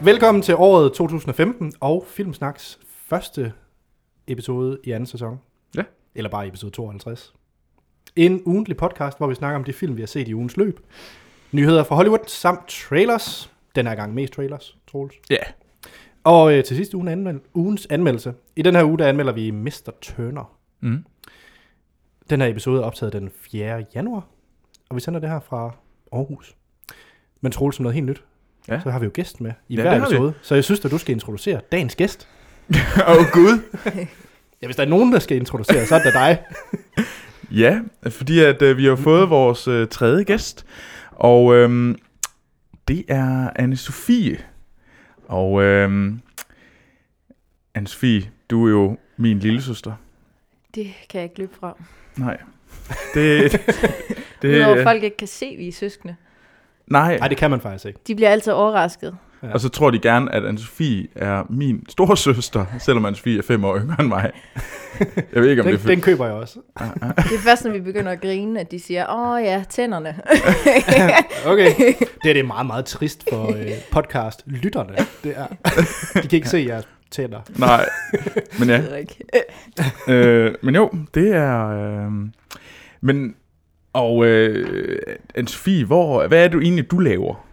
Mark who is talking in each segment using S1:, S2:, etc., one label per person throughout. S1: velkommen til året 2015 og Filmsnaks første episode i anden sæson.
S2: Ja.
S1: Eller bare episode 52. En ugentlig podcast, hvor vi snakker om de film, vi har set i ugens løb. Nyheder fra Hollywood samt trailers. Den her gang mest trailers, Troels.
S2: Ja.
S1: Og øh, til sidst ugen anmel- ugens anmeldelse. I den her uge, der anmelder vi Mr. Turner.
S2: Mm.
S1: Den her episode er optaget den 4. januar, og vi sender det her fra Aarhus. Men Troels, som noget helt nyt,
S2: Ja.
S1: så har vi jo gæst med i
S2: Ja,
S1: ja, hver
S2: det har vi.
S1: episode. Så jeg synes, at du skal introducere dagens gæst.
S2: Åh oh, gud.
S1: Ja, hvis der er nogen, der skal introducere, så er det da dig.
S2: Ja, fordi at øh, vi har fået vores øh, tredje gæst, og øhm, det er anne Sofie. Og øhm, anne Sofie, du er jo min lille søster.
S3: Det kan jeg ikke løbe fra.
S2: Nej. Det,
S3: Det, Udover
S2: øh,
S3: folk ikke kan se, vi er søskende.
S2: Nej,
S1: Nej, det kan man faktisk ikke.
S3: De bliver altid overrasket.
S2: og så tror de gerne, at anne Sofie er min store søster, selvom anne Sofie er fem år yngre end mig. Jeg ved ikke, om
S1: Den,
S2: det er...
S1: den køber jeg også.
S3: Det er først, når vi begynder at grine, at de siger, åh ja, tænderne.
S1: Okay. Det er det er meget, meget trist for øh, podcast-lytterne. Det er. De kan ikke se jeres tænder.
S2: Nej, men ja.
S3: Jeg ved ikke.
S2: øh, men jo, det er... Øh, men, og øh, Anne-Sophie, hvor, hvad er det egentlig, du laver?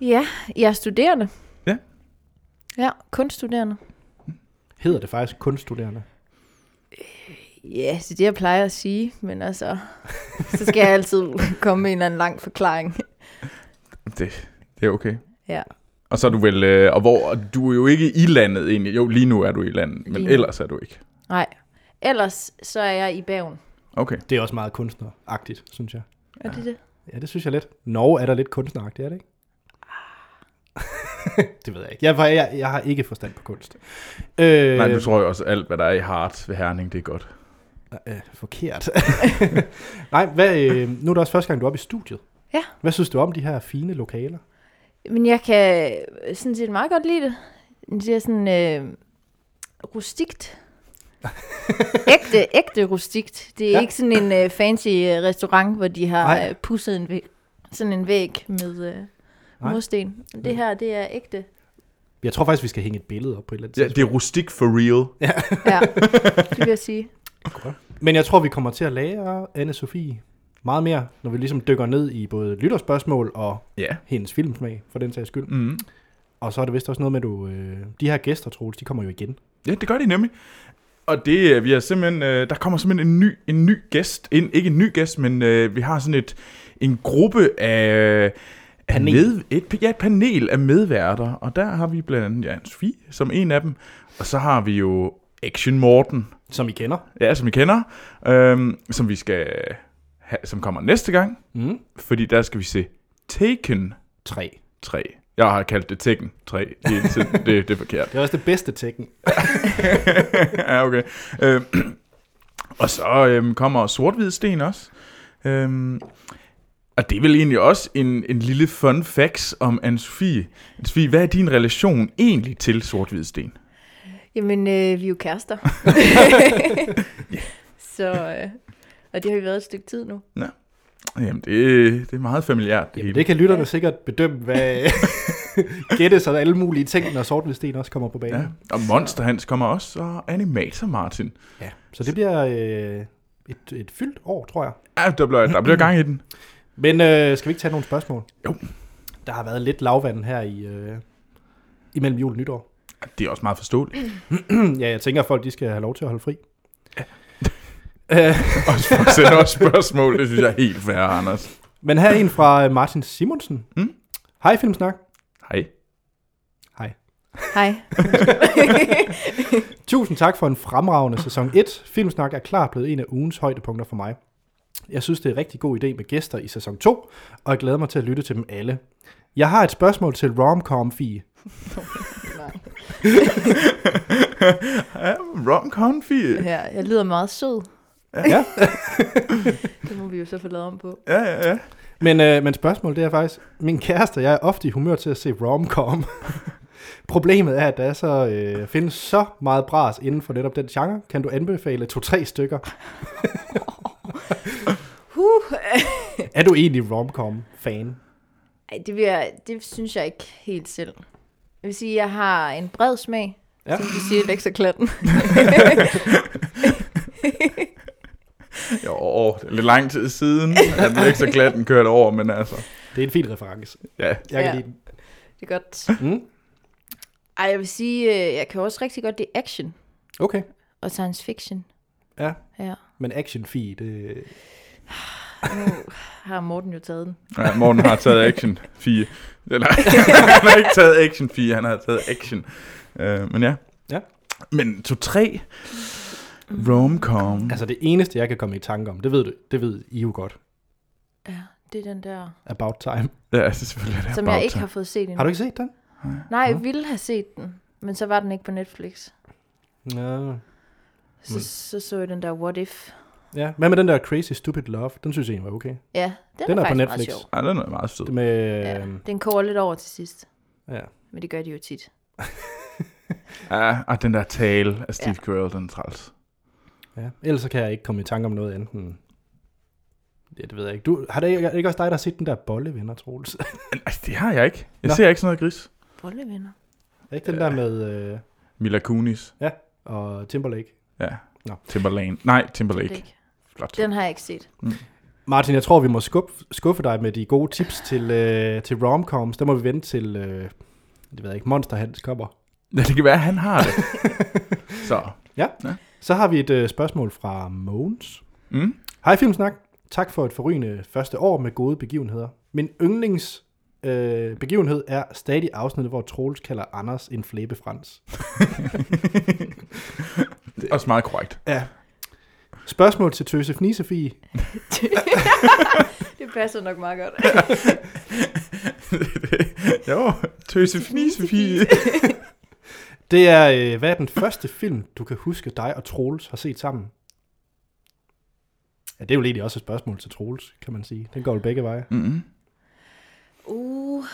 S3: Ja, jeg er studerende.
S2: Ja.
S3: Ja, kunststuderende.
S1: Hedder det faktisk kunststuderende?
S3: Ja, yes, det er det, jeg plejer at sige, men altså, så skal jeg altid komme med en eller anden lang forklaring.
S2: Det, det er okay.
S3: Ja.
S2: Og så er du vel, øh, og hvor, og du er jo ikke i landet egentlig. Jo, lige nu er du i landet, men
S3: Lige nu.
S2: ellers er du ikke.
S3: Nej, ellers så er jeg i bagen.
S2: Okay.
S1: Det er også meget kunstneragtigt, synes jeg.
S3: Er det det?
S1: Ja, det synes jeg lidt. Norge er der lidt kunstneragtigt, er det ikke?
S2: Ah.
S1: det ved jeg ikke. Jeg, jeg, jeg, jeg har ikke forstand på kunst. Øh,
S2: Nej, du tror jo også, alt, hvad der er i Hart ved Herning, det er godt.
S1: øh, forkert. Nej, hvad, øh, nu er det også første gang, du er oppe i studiet.
S3: Ja.
S1: Hvad synes du om de her fine lokaler?
S3: Men jeg kan øh, sådan set meget godt lide det. Det er sådan øh, rustikt. ægte, ægte rustikt. Det er
S1: Ja.
S3: ja. ikke sådan en øh, fancy øh, restaurant, hvor de har
S1: Nej.
S3: øh, pudset en væg, sådan en væg med øh,
S1: Nej.
S3: mursten. Det her, det er ægte.
S1: Jeg tror faktisk, vi skal hænge et billede op på et eller andet
S2: Ja, det er rustik for real.
S3: Ja, det vil jeg sige.
S1: Men jeg tror, vi kommer til at lære Anne-Sophie meget mere, når vi ligesom dykker ned i både lytterspørgsmål og
S2: Ja.
S1: hendes filmsmag, for den sags skyld.
S2: Mm.
S1: Og så er det vist også noget med, at du, øh, de her gæster, Troels, de kommer jo igen.
S2: Ja, det gør de nemlig. Og det, øh, vi har simpelthen, øh, der kommer simpelthen en ny, en ny gæst. En, ikke en ny gæst, men øh, vi har sådan et, en gruppe af... af
S1: Panel.
S2: Med, et, ja, et panel af medværter. Og der har vi blandt andet Jan Svi som en af dem. Og så har vi jo Action Morten,
S1: Som I kender.
S2: ja, som I kender, øhm, som vi skal have, som kommer næste gang.
S1: Mm.
S2: Fordi der skal vi se Taken
S1: Tre.
S2: 3. Jeg har kaldt det Taken 3 hele tiden. det, det er forkert.
S1: Det er også det bedste tekken.
S2: ja, okay. Øh, og så øhm, kommer sort sten også. Øhm, og det er vel egentlig også en, en lille fun facts om Anne-Sophie. Anne-Sophie, hvad er din relation egentlig til sort sten?
S3: Jamen, øh, vi er jo kærester. Så, øh, og det har vi været et stykke tid nu.
S2: Jamen, det, det er meget familiært. Det
S1: Jamen,
S2: hele.
S1: det kan lytterne sikkert bedømme, hvad gætte sig alle mulige ting, når Sortvedsten også kommer på banen. Ja.
S2: Ja. Og Monster Hans kommer også, og Animator Martin.
S1: ja. Så det bliver øh, et, et fyldt år, tror jeg.
S2: Ja, der bliver, der bliver gang i den.
S1: Men øh, skal vi ikke tage nogle spørgsmål?
S2: Jo.
S1: Der har været lidt lavvand her i øh, imellem jul og nytår.
S2: Det er også meget forståeligt.
S1: ja, jeg tænker, at folk de skal have lov til at holde fri. Øh,
S2: Og så sender også spørgsmål, det synes jeg er helt fair, Anders.
S1: Men her er en fra øh, Martin Simonsen.
S2: Mm.
S1: Hej Filmsnak.
S2: Hej.
S3: Hej.
S1: Tusind tak for en fremragende sæson 1. Filmsnak er klart blevet en af ugens højdepunkter for mig. Jeg synes, det er en rigtig god idé med gæster i sæson 2, og jeg glæder mig til at lytte til dem alle. Jeg har et spørgsmål til romcom -fie.
S3: Nej.
S2: Ja, Rom Confi.
S3: Ja, jeg lyder meget sød.
S1: Ja.
S3: Det må vi jo så få lavet om på.
S2: Ja, ja, ja.
S1: Men, øh, men spørgsmålet det er faktisk, min kæreste og jeg er ofte i humør til at se romcom. Problemet er, at der er så, øh, findes så meget bras inden for netop den genre. Kan du anbefale to-tre stykker?
S3: Huh.
S1: Er du egentlig romcom-fan?
S3: Ej, det, vil jeg, det synes jeg ikke helt selv. Jeg vil sige, at jeg har en bred smag,
S1: Ja.
S3: ja. som de siger i lekserklatten.
S2: Jo, åh, det er lidt lang tid siden, at den ekstra klatten kørte over, men altså,
S1: Det er en fin reference.
S2: ja.
S1: Jeg kan
S3: Ja.
S1: lide den.
S3: Det er godt.
S1: Mm.
S3: Ej, jeg vil sige, øh, jeg kan også rigtig godt lide action
S1: Okay.
S3: og science fiction.
S1: Ja.
S3: Ja.
S1: Men action fee, det...
S3: Nu har Morten jo taget den.
S2: ja Morten har taget action 4. Eller, han har ikke taget action 4, han har taget action. Øh, men ja.
S1: Ja.
S2: Men 2-3,
S3: Mm.
S2: romcom.
S1: Altså det eneste, jeg kan komme i tanke om, det ved, du, det ved I jo godt.
S3: Ja, det er den der,
S1: About time.
S2: Ja, altså selvfølgelig er det
S3: som
S2: About
S3: jeg ikke
S2: Time.
S3: har fået set endnu.
S1: Har du ikke set den?
S3: Nej, jeg ville have set den, men så var den ikke på Netflix.
S1: Ja.
S3: Så så, så jeg den der What If.
S1: ja. Hvad med den der Crazy Stupid Love? Den synes jeg egentlig var okay.
S3: Ja, den,
S1: Den
S3: er,
S1: er på
S3: faktisk
S1: Netflix.
S3: meget sjov.
S2: Ej, den er meget sød.
S1: Med...
S3: Ja,
S1: øhm,
S3: den koger lidt over til sidst,
S1: ja.
S3: men det gør de jo tit.
S2: Ja, og den der tale af Steve ja. Carell, den er træls.
S1: ja. Ellers så kan jeg ikke komme i tanke om noget andet end... Ja, det ved jeg ikke. Du, har det ikke, er det ikke også dig, der har set den der bollevenner, Troels?
S2: Altså, det har jeg ikke.
S1: Nå.
S2: Jeg Nå. ser ikke sådan noget gris.
S3: Bollevenner.
S1: er ikke den der med... Øh,
S2: Mila Kunis.
S1: og Timberlake?
S2: Ja.
S1: Nå.
S2: Timberlane. Nej, Timberlake. Flot. Mm.
S3: Den har jeg ikke set.
S1: Martin, jeg tror, vi må skuffe, skuffe dig med de gode tips til, øh, til romcoms. Der må vi vente til, øh, det ved jeg ikke, Monsterhands kommer.
S2: Ja, det kan være, han har det. Så.
S1: Så har vi et øh, spørgsmål fra Mogens.
S2: Mm.
S1: Hej Filmsnak. Tak for et forrygende første år med gode begivenheder. Min yndlings øh, begivenhed er stadig afsnittet, hvor Troels kalder Anders en flæbefrans.
S2: Det er også meget korrekt.
S1: Ja. Spørgsmål til Tøse Fnisefie.
S3: det passer nok meget godt.
S2: jo, tøse fnisefie.
S1: Det er, øh, hvad er den første film, du kan huske dig og Troels har set sammen? Ja, det er jo egentlig også et spørgsmål til Troels, kan man sige. Den går jo begge veje.
S2: Mm-hmm.
S3: Uh.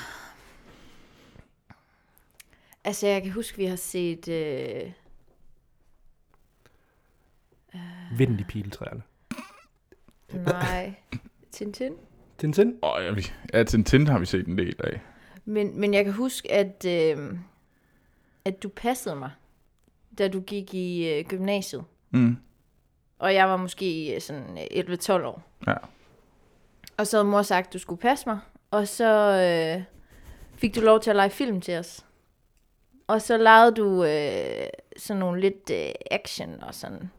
S3: Altså, jeg kan huske, vi har set... Øh...
S1: Vinden i piletræerne.
S3: øh, Nej, Tintin.
S1: Tintin?
S2: Og ja, vi, ja, Tintin har vi set en del af.
S3: Men, men jeg kan huske, at, øh... at du passede mig, da du gik i øh, gymnasiet.
S2: Mm.
S3: Og jeg var måske øh, sådan øh, 11-12 år.
S2: Ja.
S3: Og så havde mor sagt, at du skulle passe mig. Og så øh, fik du lov til at lege film til os. Og så legede du øh, sådan nogle lidt øh, action og sådan.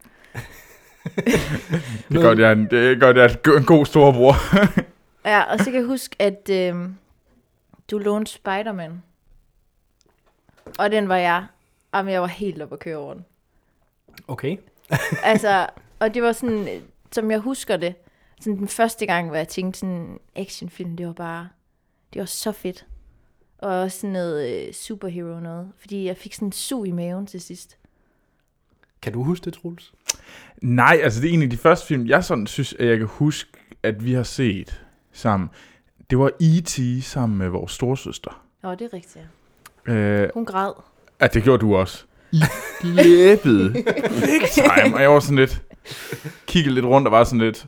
S2: Det er godt, jeg er en, det er godt, jeg er en go- en god storbror.
S3: Ja, og så kan jeg huske, at øh, du lånte Spider-Man. Og den var jeg. Jamen, jeg var helt oppe at køre over den.
S1: Okay.
S3: Altså, og det var sådan, øh, som jeg husker det, sådan den første gang, hvor jeg tænkte sådan, actionfilm, det var bare, det var så fedt. Og også sådan noget øh, superhero noget, fordi jeg fik sådan en sug i maven til sidst.
S1: Kan du huske det, Troels?
S2: Nej, altså det er en af de første film, jeg sådan synes, at jeg kan huske, at vi har set sammen. Det var E.T. sammen med vores storsøster.
S3: Nå, det er rigtigt. ja.
S2: Øh,
S3: Hun græd.
S2: ja, det gjorde du også. I læbede. Big time. Og jeg var sådan lidt... Kiggede lidt rundt og var sådan lidt...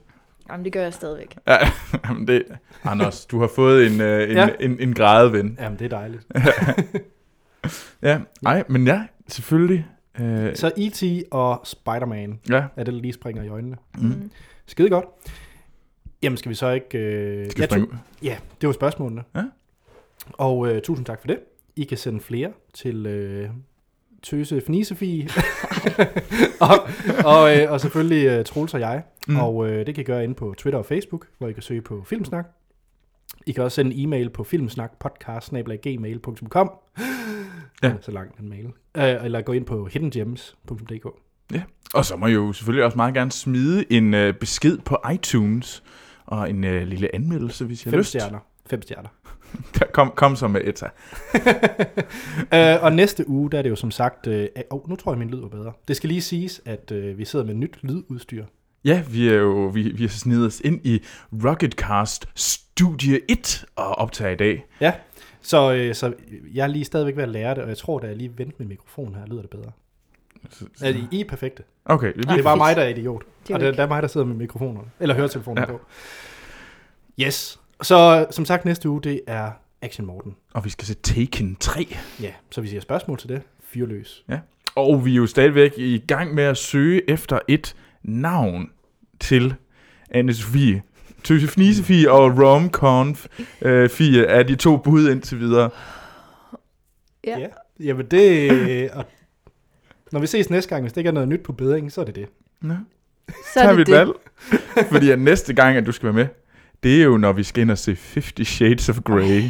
S3: Jamen, det gør jeg stadigvæk.
S2: Ja, jamen det, Anders, du har fået en, øh, en,
S1: Ja.
S2: ja. en, en gradeven.
S1: Jamen, det er dejligt.
S2: Ja, nej, men ja, selvfølgelig. Øh,
S1: Så E.T. og Spider-Man
S2: ja,
S1: er det, der lige springer i øjnene.
S2: Mm.
S1: Skide godt. Jamen, skal vi så ikke... Øh... ja,
S2: skal jeg springe ud?
S1: ja, det var spørgsmålene.
S2: Ja.
S1: Og øh, tusind tak for det. I kan sende flere til øh, Tøse Fnisefie. og, og, øh, og selvfølgelig øh, Troels og jeg. Mm.
S2: Mm.
S1: Og øh, det kan I gøre inde på Twitter og Facebook, hvor I kan søge på Filmsnak. I kan også sende en e-mail på filmsnakpodcast.gmail.com
S2: Ja.
S1: ja. Så lang en mail. Øh, eller gå ind på hiddengems.dk.
S2: Og så må I jo selvfølgelig også meget gerne smide en øh, besked på iTunes og en øh, lille anmeldelse, hvis I har
S1: Fem
S2: lyst.
S1: stjerner. Fem stjerner.
S2: Der- Kom, kom så med Etta.
S1: øh, og næste uge, der er det jo som sagt... Øh, at- åh, nu tror jeg, min lyd var bedre. Det skal lige siges, at øh, vi sidder med nyt lydudstyr.
S2: Ja, vi er jo vi, vi har snedet os ind i Rocketcast Studie 1 og optager i dag.
S1: Ja, så, øh, så jeg er lige stadigvæk ved at lære det, og jeg tror, da jeg lige vendte min mikrofon her, lyder det bedre.
S2: Så- så-
S1: Er I, I er perfekte?
S2: Okay, det
S1: Det
S2: bliver
S1: er bare
S3: fedt.
S1: mig, der er idiot.
S3: jo
S1: og det er,
S3: ikke-
S1: det er mig, der sidder med mikrofonerne. Eller høretelefoner ja.
S2: Ja.
S1: på. Yes. Så som sagt næste uge, det er Action Morten.
S2: Og vi skal se Taken 3.
S1: Ja, så hvis I har spørgsmål til det, fyrløs.
S2: Og vi er jo stadigvæk i gang med at søge efter et navn til Anne-Sophie. Tøse Fnisefie og Romconf øh, Fie er de to bud indtil videre.
S3: Ja.
S1: Jamen det... øh, og når vi ses næste gang, hvis det ikke er noget nyt på bedringen, så er det det.
S2: Nå,
S3: Så
S2: tager
S3: er
S2: vi
S3: det
S2: et
S3: det.
S2: valg. Fordi at næste gang, at du skal være med, det er jo, når vi skal ind og se 50 Shades of Grey.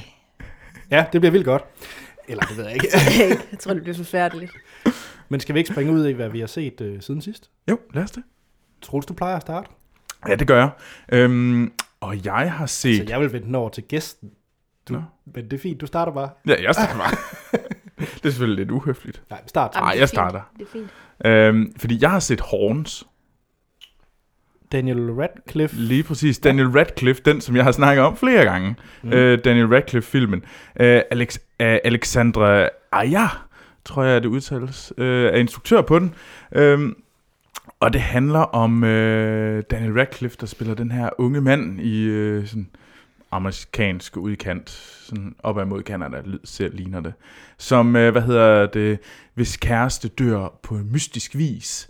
S1: Ja, det bliver vildt godt. Eller det ved jeg ikke.
S3: jeg tror, det bliver forfærdeligt.
S1: Men skal vi ikke springe ud i, hvad vi har set øh, siden sidst?
S2: Jo, lad os det.
S1: Troels, du plejer at starte?
S2: Ja, det gør jeg. Øhm, og jeg har set...
S3: Altså,
S1: Så Altså, jeg vil vente den over til gæsten. Du,
S2: Nå.
S1: men det er fint, du starter bare.
S2: Ja, jeg starter bare. det er selvfølgelig lidt uhøfligt.
S1: Nej, start.
S3: Jamen, det er
S2: jeg
S3: fint.
S2: starter.
S3: Det er fint.
S2: Øhm, fordi jeg har set Horns.
S1: Daniel Radcliffe.
S2: Lige præcis. Daniel Radcliffe, den som jeg har snakket om flere gange. Mm. Øh, Daniel Radcliffe-filmen. Øh, Alex, øh, Alexandra Aya, tror jeg, det udtales, øh, er instruktør på den. Øhm, og det handler om øh, Daniel Radcliffe, der spiller den her unge mand i øh, sådan amerikansk udkant, sådan op ad mod Canada, lyd- ser- ligner det, som, øh, hvad hedder det, hvis kæreste dør på mystisk vis,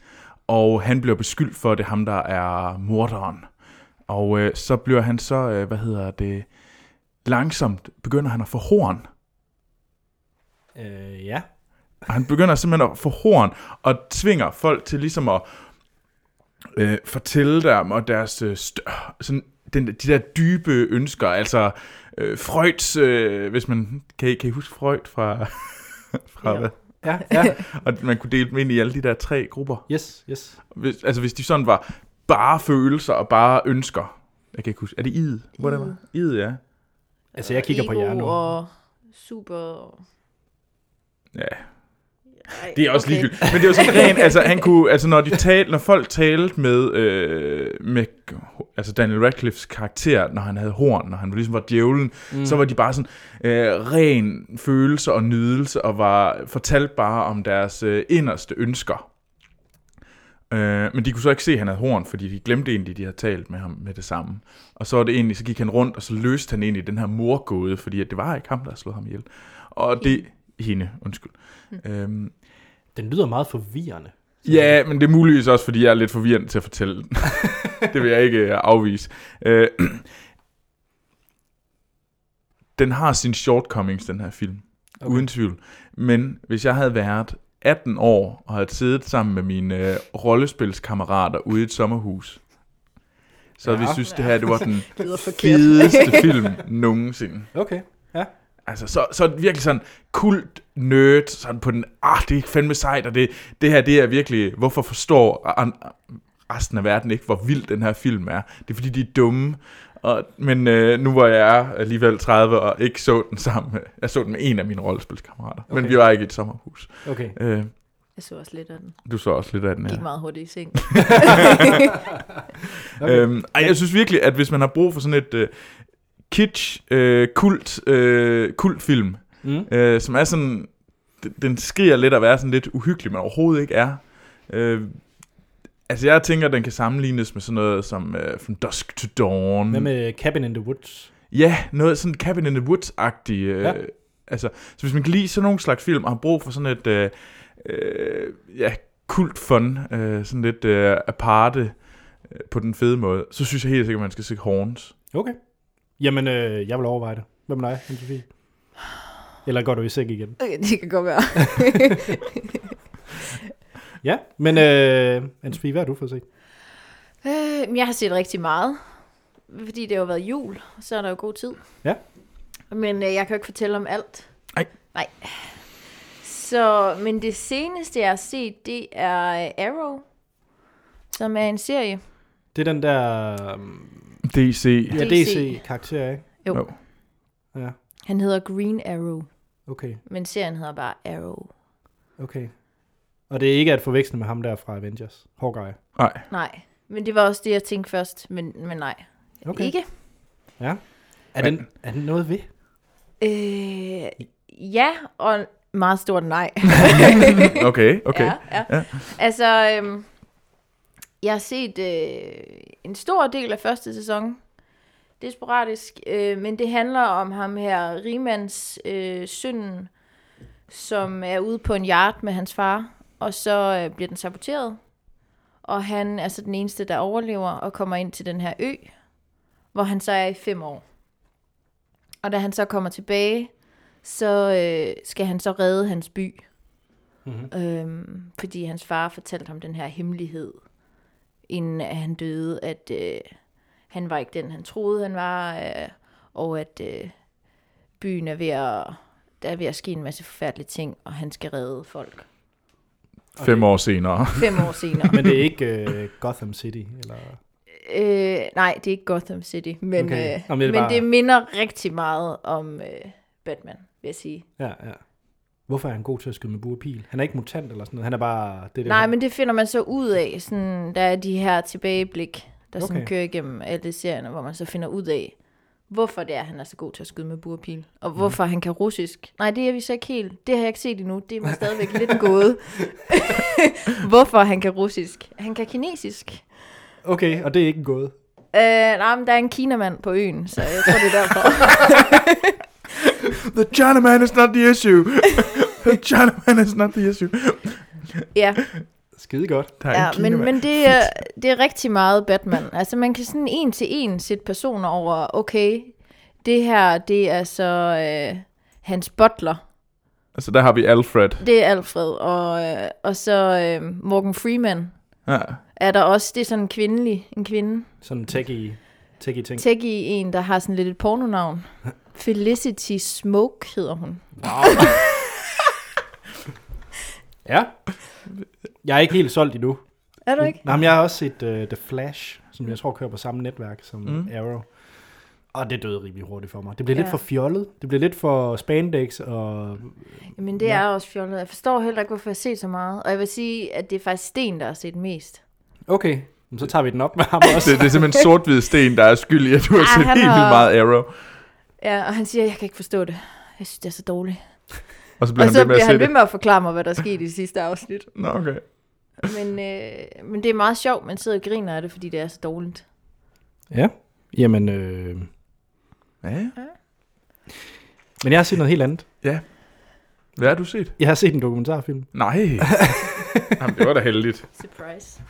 S2: og han bliver beskyldt for, at det er ham, der er morderen. Og øh, så bliver han så, øh, hvad hedder det, langsomt begynder han at få horn.
S1: Øh, ja.
S2: Og han begynder simpelthen at få horn, og tvinger folk til ligesom at øh, fortælle dem, og deres øh, stør, sådan, den, de der dybe ønsker, altså øh, Freuds, øh, hvis man, kan I, kan I huske Freud fra, fra
S3: Jo.
S2: hvad?
S1: Ja, ja.
S2: Og man kunne dele dem ind i alle de der tre grupper.
S1: Yes, yes.
S2: Hvis, altså hvis de sådan var bare følelser og bare ønsker. Jeg kan ikke huske. Er det id? Hvor det var? Id, ja.
S1: Altså, jeg kigger på
S3: Ego
S1: jer nu.
S3: og super...
S2: Ja,
S3: Ej,
S2: det er også okay.
S3: okay.
S2: ligegyldigt. Men det var sådan rent, altså, han kunne, altså når, de talte, når folk talte med, øh, med altså Daniel Radcliffes karakter, når han havde horn, når han ligesom var djævlen, mm. så var de bare sådan øh, ren følelse og nydelse, og var fortalt bare om deres øh, inderste ønsker. Øh, men de kunne så ikke se, at han havde horn, fordi de glemte egentlig, de havde talt med ham med det samme. Og så var det egentlig, så gik han rundt, og så løste han egentlig den her morgåde, fordi at det var ikke ham, der havde slået ham ihjel. Og det... Hende, undskyld. Mm. Øhm,
S1: Den lyder meget forvirrende.
S2: Ja, men det er muligvis også, fordi jeg er lidt forvirrende til at fortælle den. det vil jeg ikke øh, afvise. Øh, den har sin shortcomings, den her film. Okay. Uden tvivl. Men hvis jeg havde været 18 år og havde siddet sammen med mine øh, rollespilskammerater ude i et sommerhus, så havde ja.
S1: Ja.
S2: vi synes det her det var den
S3: Det lyder forkert.
S2: fedeste film nogensinde.
S1: Okay.
S2: Altså, så, så er det virkelig sådan kult nerd, sådan på den, ah, det er fandme sejt, og det, det her, det er virkelig, hvorfor forstår an- resten af verden ikke, hvor vild den her film er. Det er fordi, de er dumme, og, men øh, nu var jeg alligevel 30 og ikke så den sammen med, jeg så den med en af mine rollespilskammerater, okay. men
S1: Okay.
S2: vi var ikke i et sommerhus.
S1: Okay.
S2: Øh,
S3: Jeg så også lidt af den.
S2: du så også lidt af den her.
S3: Gik meget hurtigt i seng.
S1: Okay.
S2: Okay. Øhm, ej, jeg synes virkelig, at hvis man har brug for sådan et øh, kitsch, øh, kult, øh, kultfilm,
S1: Mm.
S2: øh, som er sådan, den- den skriger lidt at være sådan lidt uhyggelig, men overhovedet ikke er. Øh, altså jeg tænker, at den kan sammenlignes med sådan noget som øh, From Dusk to Dawn.
S1: Hvad med Cabin in the Woods?
S2: Ja, noget sådan Cabin in the Woods-agtig. Øh,
S1: Ja.
S2: ja. Altså, så hvis man kan lide sådan nogle slags film, og har brug for sådan et, øh, øh, ja, kult fun, øh, sådan lidt øh, aparte, øh, på den fede måde, så synes jeg helt sikkert, at man skal se Horns.
S1: Okay. Jamen, øh, jeg vil overveje det. Hvad med dig, Anne-Sophie? Eller går du i seng igen?
S3: okay, det kan godt være.
S1: Ja, men øh, Anne-Sophie, hvad har du fået set?
S3: Øh, men jeg har set rigtig meget, fordi det har jo været jul, så er der jo god tid.
S1: Ja.
S3: Men øh, jeg kan jo ikke fortælle om alt.
S2: Nej.
S3: Nej. Så, men det seneste, jeg har set, det er øh, Arrow, som er en serie.
S1: Det er den der um,
S2: DC.
S1: ja,
S3: DC.
S1: DC-karakter, ikke?
S3: Jo.
S2: Jo.
S1: Ja,
S3: Han hedder Green Arrow,
S1: okay,
S3: men serien hedder bare Arrow.
S1: okay. Og det er ikke at forveksle med ham der fra Avengers. Hawkeye.
S2: Nej.
S3: Nej, men det var også det, jeg tænkte først, men, men nej.
S1: Okay.
S3: Ikke?
S1: Ja. Er den, er den noget ved?
S3: Øh, ja, og meget stort nej.
S2: Okay, okay.
S3: Ja, ja. ja. Altså, øhm, jeg har set øh, en stor del af første sæson. Det er sporadisk, øh, men det handler om ham her, Riemanns øh, sønnen, som er ude på en yard med hans far, og så øh, bliver den saboteret. Og han er så den eneste, der overlever og kommer ind til den her ø, hvor han så er i fem år. Og da han så kommer tilbage, så øh, skal han så redde hans by.
S1: Mhm.
S3: Mm-hmm. Øhm, fordi hans far fortalte ham den her hemmelighed, inden at han døde, at øh, han var ikke den, han troede, han var, øh, og at øh, byen er ved at, der er ved at ske en masse forfærdelige ting, og han skal redde folk.
S2: Fem år senere.
S3: Fem år senere.
S1: Men det er ikke øh, Gotham City, eller...
S3: øh, nej, det er ikke Gotham City, men,
S1: Okay.
S3: okay. øh,
S1: Nå, men det er
S3: men
S1: bare-
S3: bare... det minder rigtig meget om øh, Batman, vil jeg sige.
S1: Ja, ja. Hvorfor er han god til at skyde med bue og pil? Han er ikke mutant eller sådan noget. Han er bare... Det, der
S3: Nej, men det finder man så ud af. Sådan, der er de her tilbageblik, der okay.
S1: Okay.
S3: sådan kører igennem alle serierne, hvor man så finder ud af, hvorfor det er, han er så god til at skyde med burpil. Og
S1: Mm.
S3: hvorfor han kan russisk. Nej, det er vi så ikke helt. Det har jeg ikke set endnu. Det er mig stadigvæk lidt en gåde. hvorfor han kan russisk. Han kan kinesisk.
S1: Okay, og det er ikke en gåde.
S3: Øh, nej, men der er en kinamand på øen, så jeg tror, det er derfor.
S2: The Chinaman is not the issue. The Chinaman is not the issue.
S3: ja,
S1: Skide godt.
S2: Der er
S3: ja
S2: en
S3: men,
S2: Kinaman.
S3: men det, er, det er rigtig meget Batman. Altså, man kan sådan en til en sætte personer over, okay, det her, det er så øh, hans butler,
S2: Altså, der har vi Alfred.
S3: det er Alfred, og, øh, og så øh, Morgan Freeman
S2: Ja.
S3: er der også, det er sådan en kvindelig, en kvinde.
S1: Sådan techie, techie ting.
S3: Tæk i en, der har sådan lidt et pornonavn. Felicity Smoke hedder hun.
S1: Ja. Jeg er ikke helt solgt endnu.
S3: Er du ikke?
S1: Nej, men jeg har også set uh, The Flash, som jeg tror kører på samme netværk som mm.
S2: Mm.
S1: Arrow. Og det døde rimelig hurtigt for mig. Det blev ja. lidt
S3: Ja.
S1: for fjollet. Det blev lidt for spandex og...
S3: Men det
S1: Ja.
S3: er også fjollet. Jeg forstår heller ikke, hvorfor jeg har set så meget. Og jeg vil sige, at det er faktisk Sten, der har set mest.
S1: Okay, men så tager vi den op med ham også.
S2: Det, det er simpelthen sort-hvid sten, der er skyld i, at du har
S3: Ah,
S2: set
S3: han
S2: helt
S3: har-
S2: vildt meget Arrow.
S3: Ja, og han siger, at jeg kan ikke forstå det. Jeg synes, det er så dårligt.
S2: Og så bliver
S3: Og
S2: han ved
S3: så
S2: med at
S3: bliver
S2: se
S3: han ved
S2: det.
S3: med at forklare mig, hvad der skete i sidste afsnit.
S2: Nå, okay.
S3: Men, øh, men det er meget sjovt, man sidder og griner af det, fordi det er så dårligt.
S1: Ja, jamen... Øh...
S2: Ja.
S1: Men jeg har set noget helt andet.
S2: Hvad har du set?
S1: Jeg har set en dokumentarfilm.
S2: Nej. Jamen, det var da heldigt.
S3: Surprise.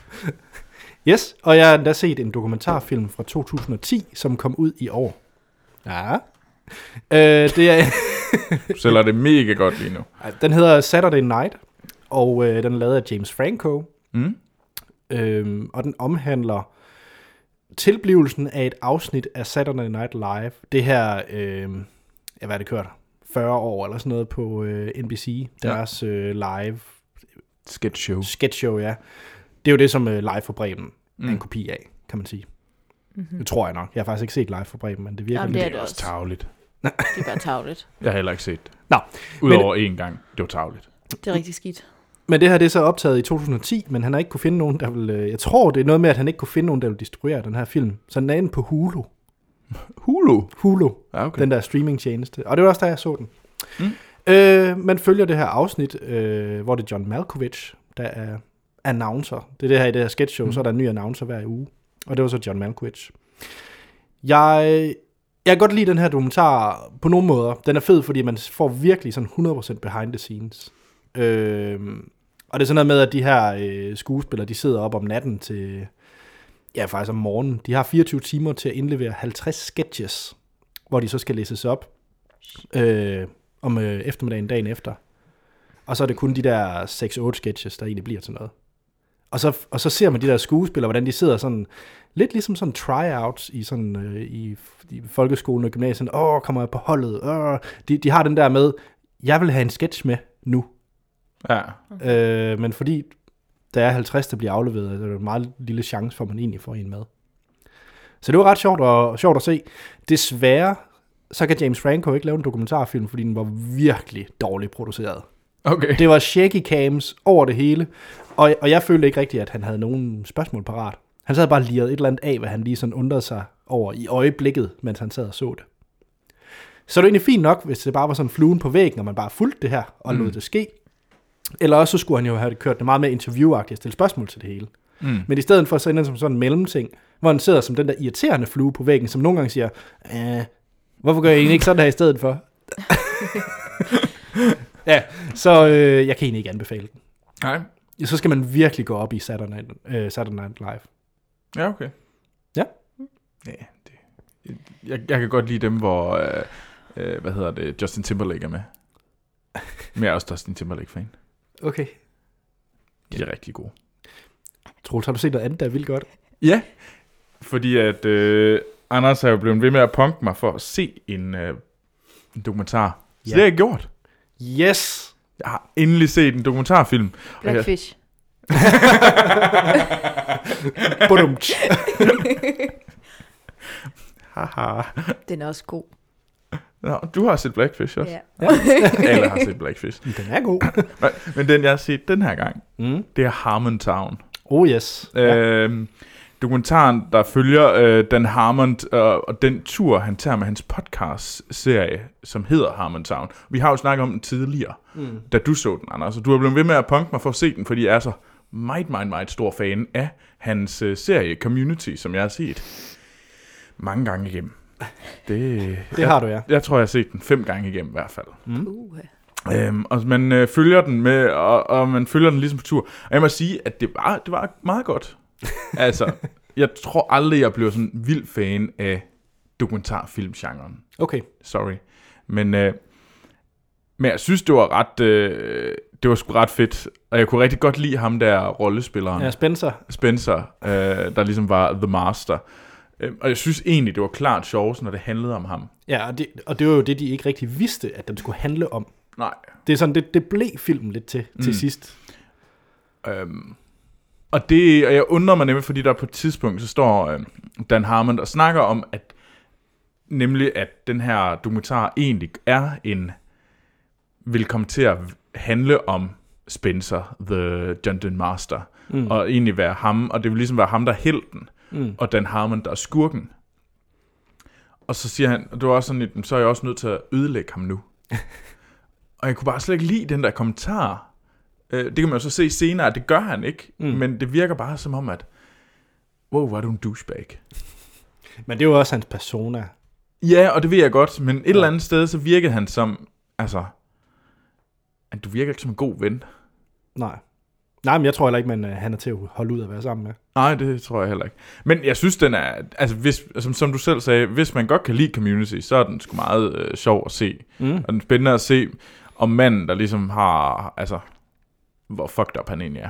S1: Yes, og jeg har endda set en dokumentarfilm fra 2010, som kom ud i år. Ja. Øh, det er...
S2: Du sælger det mega godt lige nu.
S1: Ej, Den hedder Saturday Night, og øh, den er lavet af James Franco,
S2: Mm?
S1: øhm, og den omhandler tilblivelsen af et afsnit af Saturday Night Live. Det her, øh, ja, hvad er det kørt? 40 år eller sådan noget på øh, NBC,
S2: Ja.
S1: deres øh, live
S2: Sketch show.
S1: sketch show, ja. Det er jo det, som øh, Live for Bremen mm. er en
S2: Mm.
S1: kopi af, kan man sige. Mm-hmm. Det tror jeg nok. Jeg har faktisk ikke set Live for Bremen, men det virker
S3: Jamen,
S1: lidt-
S3: det er det også.
S2: Tavligt.
S3: Det er bare tavligt.
S2: Jeg har heller ikke set det.
S1: Nå,
S2: Udover én gang. Det var tavligt.
S3: Det er rigtig skidt.
S1: Men det her det er så optaget i 2010, men han har ikke kunne finde nogen, der vil... øh, Jeg tror, det er noget med, at han ikke kunne finde nogen, der vil distribuere den her film. Så den er inde på Hulu.
S2: Hulu.
S1: Hulu,
S2: Ja, Ah, okay.
S1: okay. den der streamingtjeneste. Og det var også der, jeg så den.
S2: Mm.
S1: Øh, man følger det her afsnit, øh, hvor det er John Malkovich, der er announcer. Det er det her i det her sketch show, mm. så er der en ny announcer hver uge. Og det var så John Malkovich. Jeg, jeg kan godt lide den her dokumentar på nogle måder. Den er fed, fordi man får virkelig sådan 100% behind the scenes. Øh, og det er sådan noget med, at de her øh, skuespillere, de sidder op om natten til, ja faktisk om morgenen. De har 24 timer til at indlevere 50 sketches, hvor de så skal læses op øh, om øh, eftermiddagen dagen efter. Og så er det kun de der 6-8 sketches, der egentlig bliver til noget. Og så, og så ser man de der skuespillere, hvordan de sidder sådan, lidt ligesom sådan tryouts i, sådan, øh, i, i folkeskolen og gymnasiet. Åh, kommer jeg på holdet? Åh. De, de har den der med, jeg vil have en sketch med nu.
S2: Ja.
S1: Øh, men fordi der er 50, der bliver afleveret, er der jo en meget lille chance for, at man egentlig får en med. Så det var ret sjovt, og, sjovt at se. Desværre, så kan James Franco ikke lave en dokumentarfilm, fordi den var virkelig dårligt produceret.
S2: Okay.
S1: Det var shaky cams over det hele, og, og jeg følte ikke rigtigt, at han havde nogen spørgsmål parat. Han sad bare og lirede et eller andet af, hvad han lige sådan undrede sig over i øjeblikket, mens han sad og så det. Så det er egentlig fint nok, hvis det bare var sådan fluen på væggen, og man bare fulgte det her og mm. lod det ske. Eller også så skulle han jo have kørt det meget mere interviewagtigt og stille spørgsmål til det hele. Mm. Men i stedet for, så ender den som sådan en mellemting, hvor den sidder som den der irriterende flue på væggen, som nogle gange siger, "Øh, hvorfor gør jeg egentlig ikke sådan her i stedet for? ja, så øh, jeg kan egentlig ikke anbefale den.
S2: Nej.
S1: Så skal man virkelig gå op i Saturday Night, øh, Saturday Night Live.
S2: Ja, okay.
S1: Ja.
S2: Ja, det, jeg, jeg kan godt lide dem, hvor, øh, øh, hvad hedder det, Justin Timberlake er med. Men jeg er også Justin Timberlake-fan.
S1: Okay.
S2: De er rigtig gode.
S1: Troels, har du set noget andet, der er vildt godt?
S2: Ja, fordi at øh, Anders er jo blevet ved med at punke mig for at se en, øh, en dokumentar. Så
S1: Ja.
S2: det har jeg gjort.
S1: Yes!
S2: Jeg har endelig set en dokumentarfilm. Og jeg,
S3: Blackfish.
S1: Badum.
S2: haha.
S3: Den er også god.
S2: Nå, du har set Blackfish også.
S3: Ja.
S2: Yeah. Alle har set Blackfish.
S1: Den er god.
S2: Men- Men den, jeg har set den her gang,
S1: Mm.
S2: det er Harmontown.
S1: Oh yes. Ja.
S2: Øh, dokumentaren, der følger øh, Dan Harmond øh, og den tur, han tager med hans podcast-serie, som hedder Harmontown. Vi har jo snakket om den tidligere, mm. da du så den, Anders. Og du har blevet ved med at punke mig for at se den, fordi jeg er så meget, meget, meget stor fan af hans øh, serie Community, som jeg har set mange gange igennem. Det,
S1: Det har du, ja. Mm.
S2: Jeg tror, jeg har set den fem gange igennem i hvert fald.
S3: Uh.
S2: Øhm, og man øh, følger den med, og, og man følger den ligesom på tur. Og jeg må sige, at det var, det var meget godt. altså, jeg tror aldrig, jeg blev sådan en vild fan af dokumentarfilmgenren.
S1: Okay.
S2: Sorry. Men, øh, men jeg synes, det var ret... Øh, det var sgu ret fedt. Og jeg kunne rigtig godt lide ham der rollespilleren.
S1: Ja, Spencer.
S2: Spencer, øh, der ligesom var The Master. Øhm, og jeg synes egentlig, det var klart sjovt, når det handlede om ham.
S1: Ja, og det, og det var jo det, de ikke rigtig vidste, at den skulle handle om.
S2: Nej,
S1: Det er sådan, det, det blev filmen lidt til, mm. til sidst.
S2: Øhm, og, det, og jeg undrer mig nemlig, fordi der på et tidspunkt, så står øhm, Dan Harmon og snakker om, at nemlig at den her dokumentar egentlig er en, vil komme til at handle om Spencer, The Dungeon Master, mm. og egentlig være ham, og det vil ligesom være ham, der er helten, mm. og Dan Harmon, der er skurken. Og så siger han, og det var også sådan lidt, "Men så er jeg også nødt til at ødelægge ham nu. og jeg kunne bare slet ikke lide den der kommentar. Øh, det kan man jo så se senere, at det gør han ikke, mm. men det virker bare som om, at wow, var du en douchebag.
S1: Men det var også hans persona.
S2: Ja, og det ved jeg godt, men et ja. eller andet sted, så virkede han som, altså, at du virker ikke som en god ven.
S1: Nej. Nej, men jeg tror heller ikke, man, øh, han er til at holde ud at være sammen med.
S2: Nej, det tror jeg heller ikke. Men jeg synes, den er, altså hvis, som, som du selv sagde, hvis man godt kan lide Community, så er den sgu meget øh, sjov at se. Mm. Og den er spændende at se, om manden, der ligesom har, altså, hvor fucked up han egentlig er.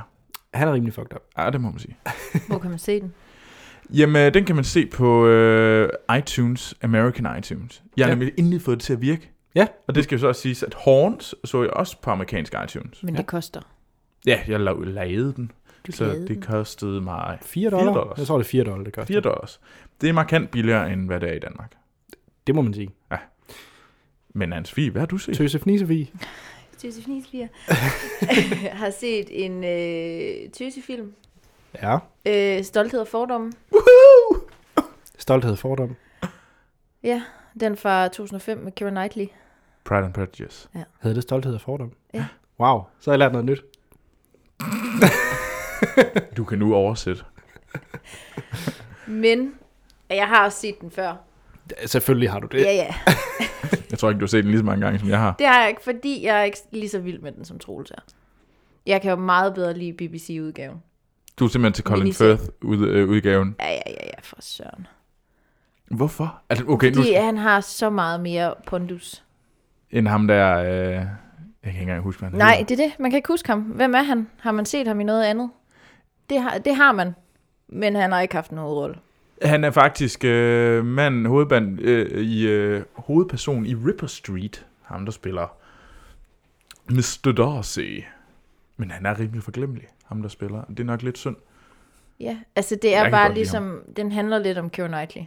S1: Han er rimelig fucked up.
S2: Ja, det må man sige.
S3: Hvor kan man se den?
S2: Jamen, den kan man se på øh, iTunes, American iTunes. Jeg har
S1: Ja.
S2: ja. nemlig endelig fået det til at virke.
S1: Ja.
S2: Og det skal jo så også siges, at Horns så jeg også på amerikansk iTunes.
S3: Men ja. det koster.
S2: Ja, jeg la- lagede den,
S3: Du
S2: så
S3: lavede den.
S2: det kostede mig
S1: 4 dollar?
S2: dollars.
S1: Jeg tror, det er 4 dollar, det koster.
S2: 4 dollars. Det er markant billigere, end hvad det er i Danmark.
S1: Det må man sige.
S2: Men hans hvad har du set?
S1: Tøse fnisevi.
S3: Tøsefnis bliver. har set en øh, tøsefilm.
S1: Ja.
S3: Øh, Stolthed og fordomme.
S1: Stolthed og fordom.
S3: Ja, den fra 2005 med Keira Knightley.
S2: Pride and Prejudice.
S1: Hedder det stolthed og fordom?
S3: Ja.
S1: Wow, så har jeg lært noget nyt.
S2: Du kan nu oversætte.
S3: Men jeg har også set den før.
S1: Ja, Selvfølgelig har du det.
S3: Ja, ja.
S2: Jeg tror ikke, du har set den lige så mange gange, som jeg har.
S3: Det har jeg ikke, fordi jeg er ikke lige så vild med den, som Troels er. Jeg kan jo meget bedre lide BBC-udgaven.
S2: Du er simpelthen til Colin øh,
S3: Miniserie.
S2: Firth-udgaven.
S3: Ja, ja, ja, ja, for søren.
S2: Hvorfor? Altså, okay, nu,
S3: Fordi han har så meget mere pondus.
S2: end ham der... Øh, jeg kan ikke engang huske, hvad han
S3: Nej,
S2: hedder.
S3: det er det. Man kan ikke huske ham. Hvem er han? Har man set ham i noget andet? Det har, det har man. Men han har ikke haft en hovedrolle.
S2: Han er faktisk øh, mand, hovedband, øh, i, øh, hovedperson i Ripper Street. Ham, der spiller Mr. Darcy. Men han er rimelig forglemmelig, ham der spiller. Det er nok lidt synd.
S3: Ja, altså det
S2: Jeg
S3: er
S2: kan
S3: bare
S2: godt lide ham.
S3: ligesom, den handler lidt om Keira Knightley.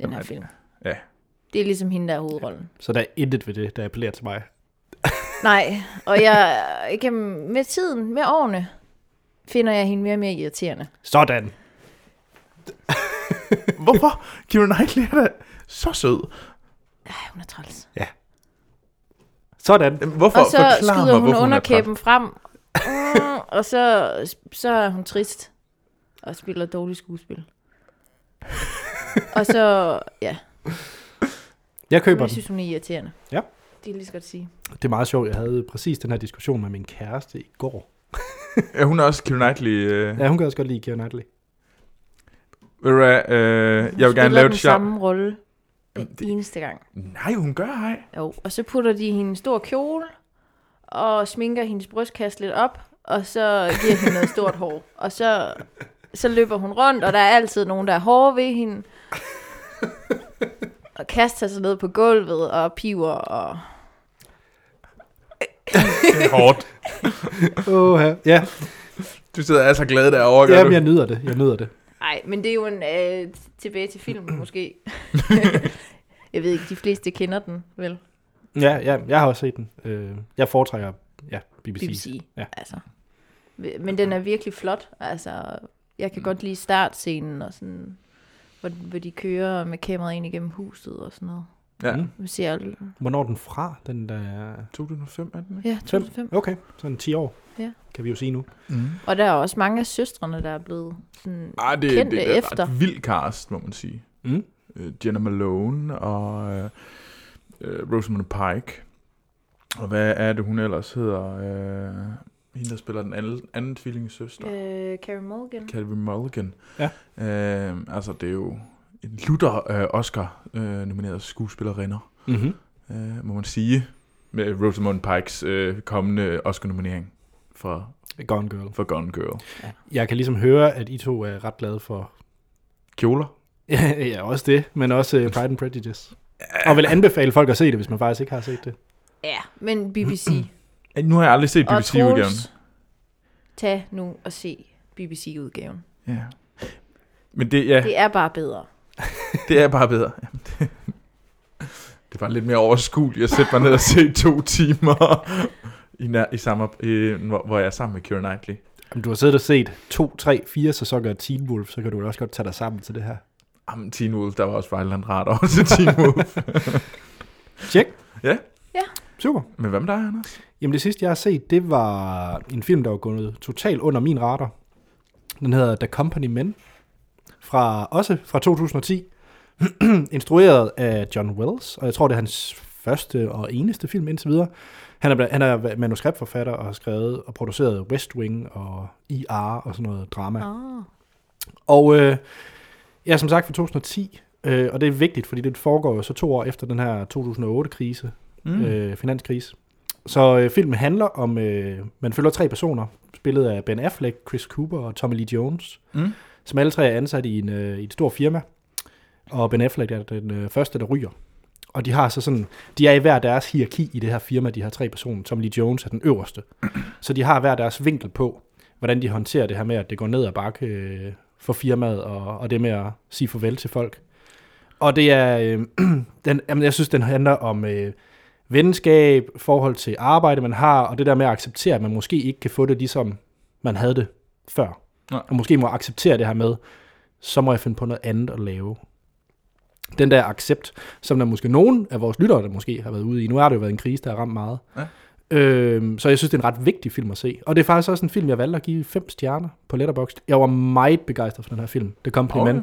S3: Den her
S2: Jamen,
S3: film.
S2: Ja.
S3: Det er ligesom hende, der er hovedrollen.
S1: Så der er intet ved det, der appellerer til mig.
S3: Nej, og jeg, igennem, med tiden, med årene, finder jeg hende mere og mere irriterende.
S1: Sådan.
S2: Hvorfor? Keira Knightley er da så sød.
S3: Ej, hun er træls.
S1: Sådan.
S2: Jamen, Hvorfor?
S3: Og så
S2: Forklar
S3: skyder
S2: mig,
S3: hun
S2: hvorfor hun er træt.
S3: underkæben frem. Mm, Og så, så er hun trist og spiller dårligt skuespil. og så, ja,
S1: Jeg køber den.
S3: jeg synes, hun er irriterende.
S1: Ja.
S3: Det kan jeg lige så godt sige.
S1: Det er meget sjovt. Jeg havde præcis den her diskussion med min kæreste i går.
S2: Ja, hun er også Keira Knightley. Øh,
S1: Ja, hun kan også godt lide Keira Knightley.
S2: ved du hvad, øh,
S3: Hun
S2: jeg vil gerne
S3: spiller
S2: lave
S3: den
S2: et sjovt.
S3: samme rolle den
S2: Jamen, det-
S3: det... eneste gang.
S2: Nej, hun gør ej.
S3: Jo. Og så putter de hende en stor kjole, og sminker hendes brystkasse lidt op, og så giver hende noget stort hår. Og så, så løber hun rundt, og der er altid nogen, der er hårde ved hende. Og kaster sig ned på gulvet og piver og...
S2: Hårdt.
S1: Åh, ja. ja.
S2: Du sidder altså glad derovre, gør
S1: Jamen,
S2: du?
S1: jeg nyder det. Jeg nyder det.
S3: Nej, men det er jo en... Øh, t- tilbage til filmen, måske. jeg ved ikke, de fleste kender den, vel?
S1: Ja, ja, jeg har også set den. Øh, jeg foretrækker ja, BBC.
S3: BBC.
S1: Ja.
S3: Ja. Altså. Men den er virkelig flot. Altså, jeg kan godt lide startscenen og sådan, hvor, hvor de kører med kameraet ind igennem huset og sådan noget.
S2: Ja.
S1: Mm.
S3: Man ser,
S1: Hvornår er den fra, den der... er-
S2: 2005 er den, ikke?
S3: ja, 2005.
S1: Okay, sådan 10 år.
S3: Ja.
S1: Kan vi jo sige nu.
S2: Mm.
S3: Og der er også mange af søstrene, der er blevet sådan...
S2: Ej, det,
S3: Kendte
S2: det er et
S3: efter.
S2: ret vild cast, må man sige.
S1: Mm.
S2: øh, Jenna Malone og øh, øh, Rosamund Pike. Og hvad er det, hun ellers hedder? Øh, hende, der spiller den anden, anden tvillingesøster. Yeah.
S3: Øh, Carey Mulligan.
S2: Calvin Mulligan.
S1: Ja.
S2: Øh, altså, det er jo en lutter øh, Oscar-nomineret øh, skuespillerinder,
S1: Mm-hmm.
S2: øh, må man sige. Med Rosamund Pikes øh, kommende Oscar-nominering for,
S1: Gone Girl.
S2: for Gone Girl.
S1: Jeg kan ligesom høre, at I to er ret glade for...
S2: Kjoler?
S1: Ja, ja, også det, men også øh, Pride and Prejudice. Og vil anbefale folk at se det, hvis man faktisk ikke har set det.
S3: Ja, men BBC.
S2: Ej, Nu har jeg aldrig set
S3: og
S2: BBC-udgaven.
S3: Troels, tag nu og se BBC-udgaven.
S2: Ja. Men det, ja.
S3: Det er bare bedre.
S2: Det er bare bedre. Jamen, det- Det var lidt mere overskueligt at sætte mig ned og se to timer i, nær, i samme, øh, hvor, hvor jeg er sammen med Keira Knightley.
S1: Om du har siddet og set 2, 3, 4 sæsoner af Teen Wolf, så kan du vel også godt tage dig sammen til det her.
S2: Jamen, Teen Wolf, der var også Vejland Rart over til Teen Wolf.
S1: Tjek.
S2: Ja.
S3: Ja.
S1: Super.
S2: Men hvad med dig, Anders?
S1: Jamen det sidste, jeg har set, det var en film, der var gået totalt under min radar. Den hedder The Company Men, fra, også fra 2010. Instrueret af John Wells, og jeg tror, det er hans første og eneste film indtil videre. Han er, bla- han er manuskriptforfatter og har skrevet og produceret West Wing og IR og sådan noget drama.
S3: Ah.
S1: Og øh, ja, som sagt fra 2010, øh, og det er vigtigt, fordi det foregår jo så to år efter den her 2008-krise, mm. øh, finanskrise. Så øh, filmen handler om, øh, man følger tre personer, spillet af Ben Affleck, Chris Cooper og Tommy Lee Jones,
S2: Mm.
S1: som alle tre er ansat i, en, øh, i et stort firma. Og Ben Affleck er den øh, første, der ryger. Og de har så sådan, de er i hver deres hierarki i det her firma, de her tre personer. Tommy Lee Jones er den øverste. Så de har hver deres vinkel på, hvordan de håndterer det her med, at det går ned ad bakke øh, for firmaet, og, og det med at sige farvel til folk. Og det er, øh, den, jamen, jeg synes, den handler om øh, venskab, forhold til arbejde, man har, og det der med at acceptere, at man måske ikke kan få det, ligesom man havde det før.
S2: Nej.
S1: Og måske må acceptere det her med, så må jeg finde på noget andet at lave. Den der accept, som der måske nogen af vores lyttere, der måske har været ude i. Nu har det jo været en krise, der har ramt meget.
S2: Ja.
S1: Øhm, så jeg synes, det er en ret vigtig film at se. Og det er faktisk også en film, jeg valgte at give fem stjerner på Letterboxd. Jeg var meget begejstret for den her film. Det kom okay.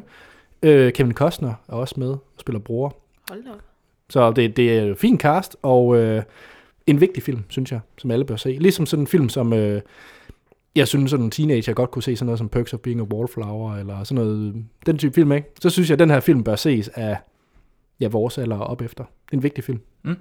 S1: øh, Kevin Costner er også med og spiller bror.
S3: Hold da op.
S1: Så det, det er en fin cast, og øh, en vigtig film, synes jeg, som alle bør se. Ligesom sådan en film, som øh, jeg synes, sådan en teenager godt kunne se, sådan noget som Perks of Being a Wallflower, eller sådan noget, øh, den type film, ikke? Så synes jeg, at den her film bør ses af ja, vores alder og op efter. Det er en vigtig film.
S2: Mm.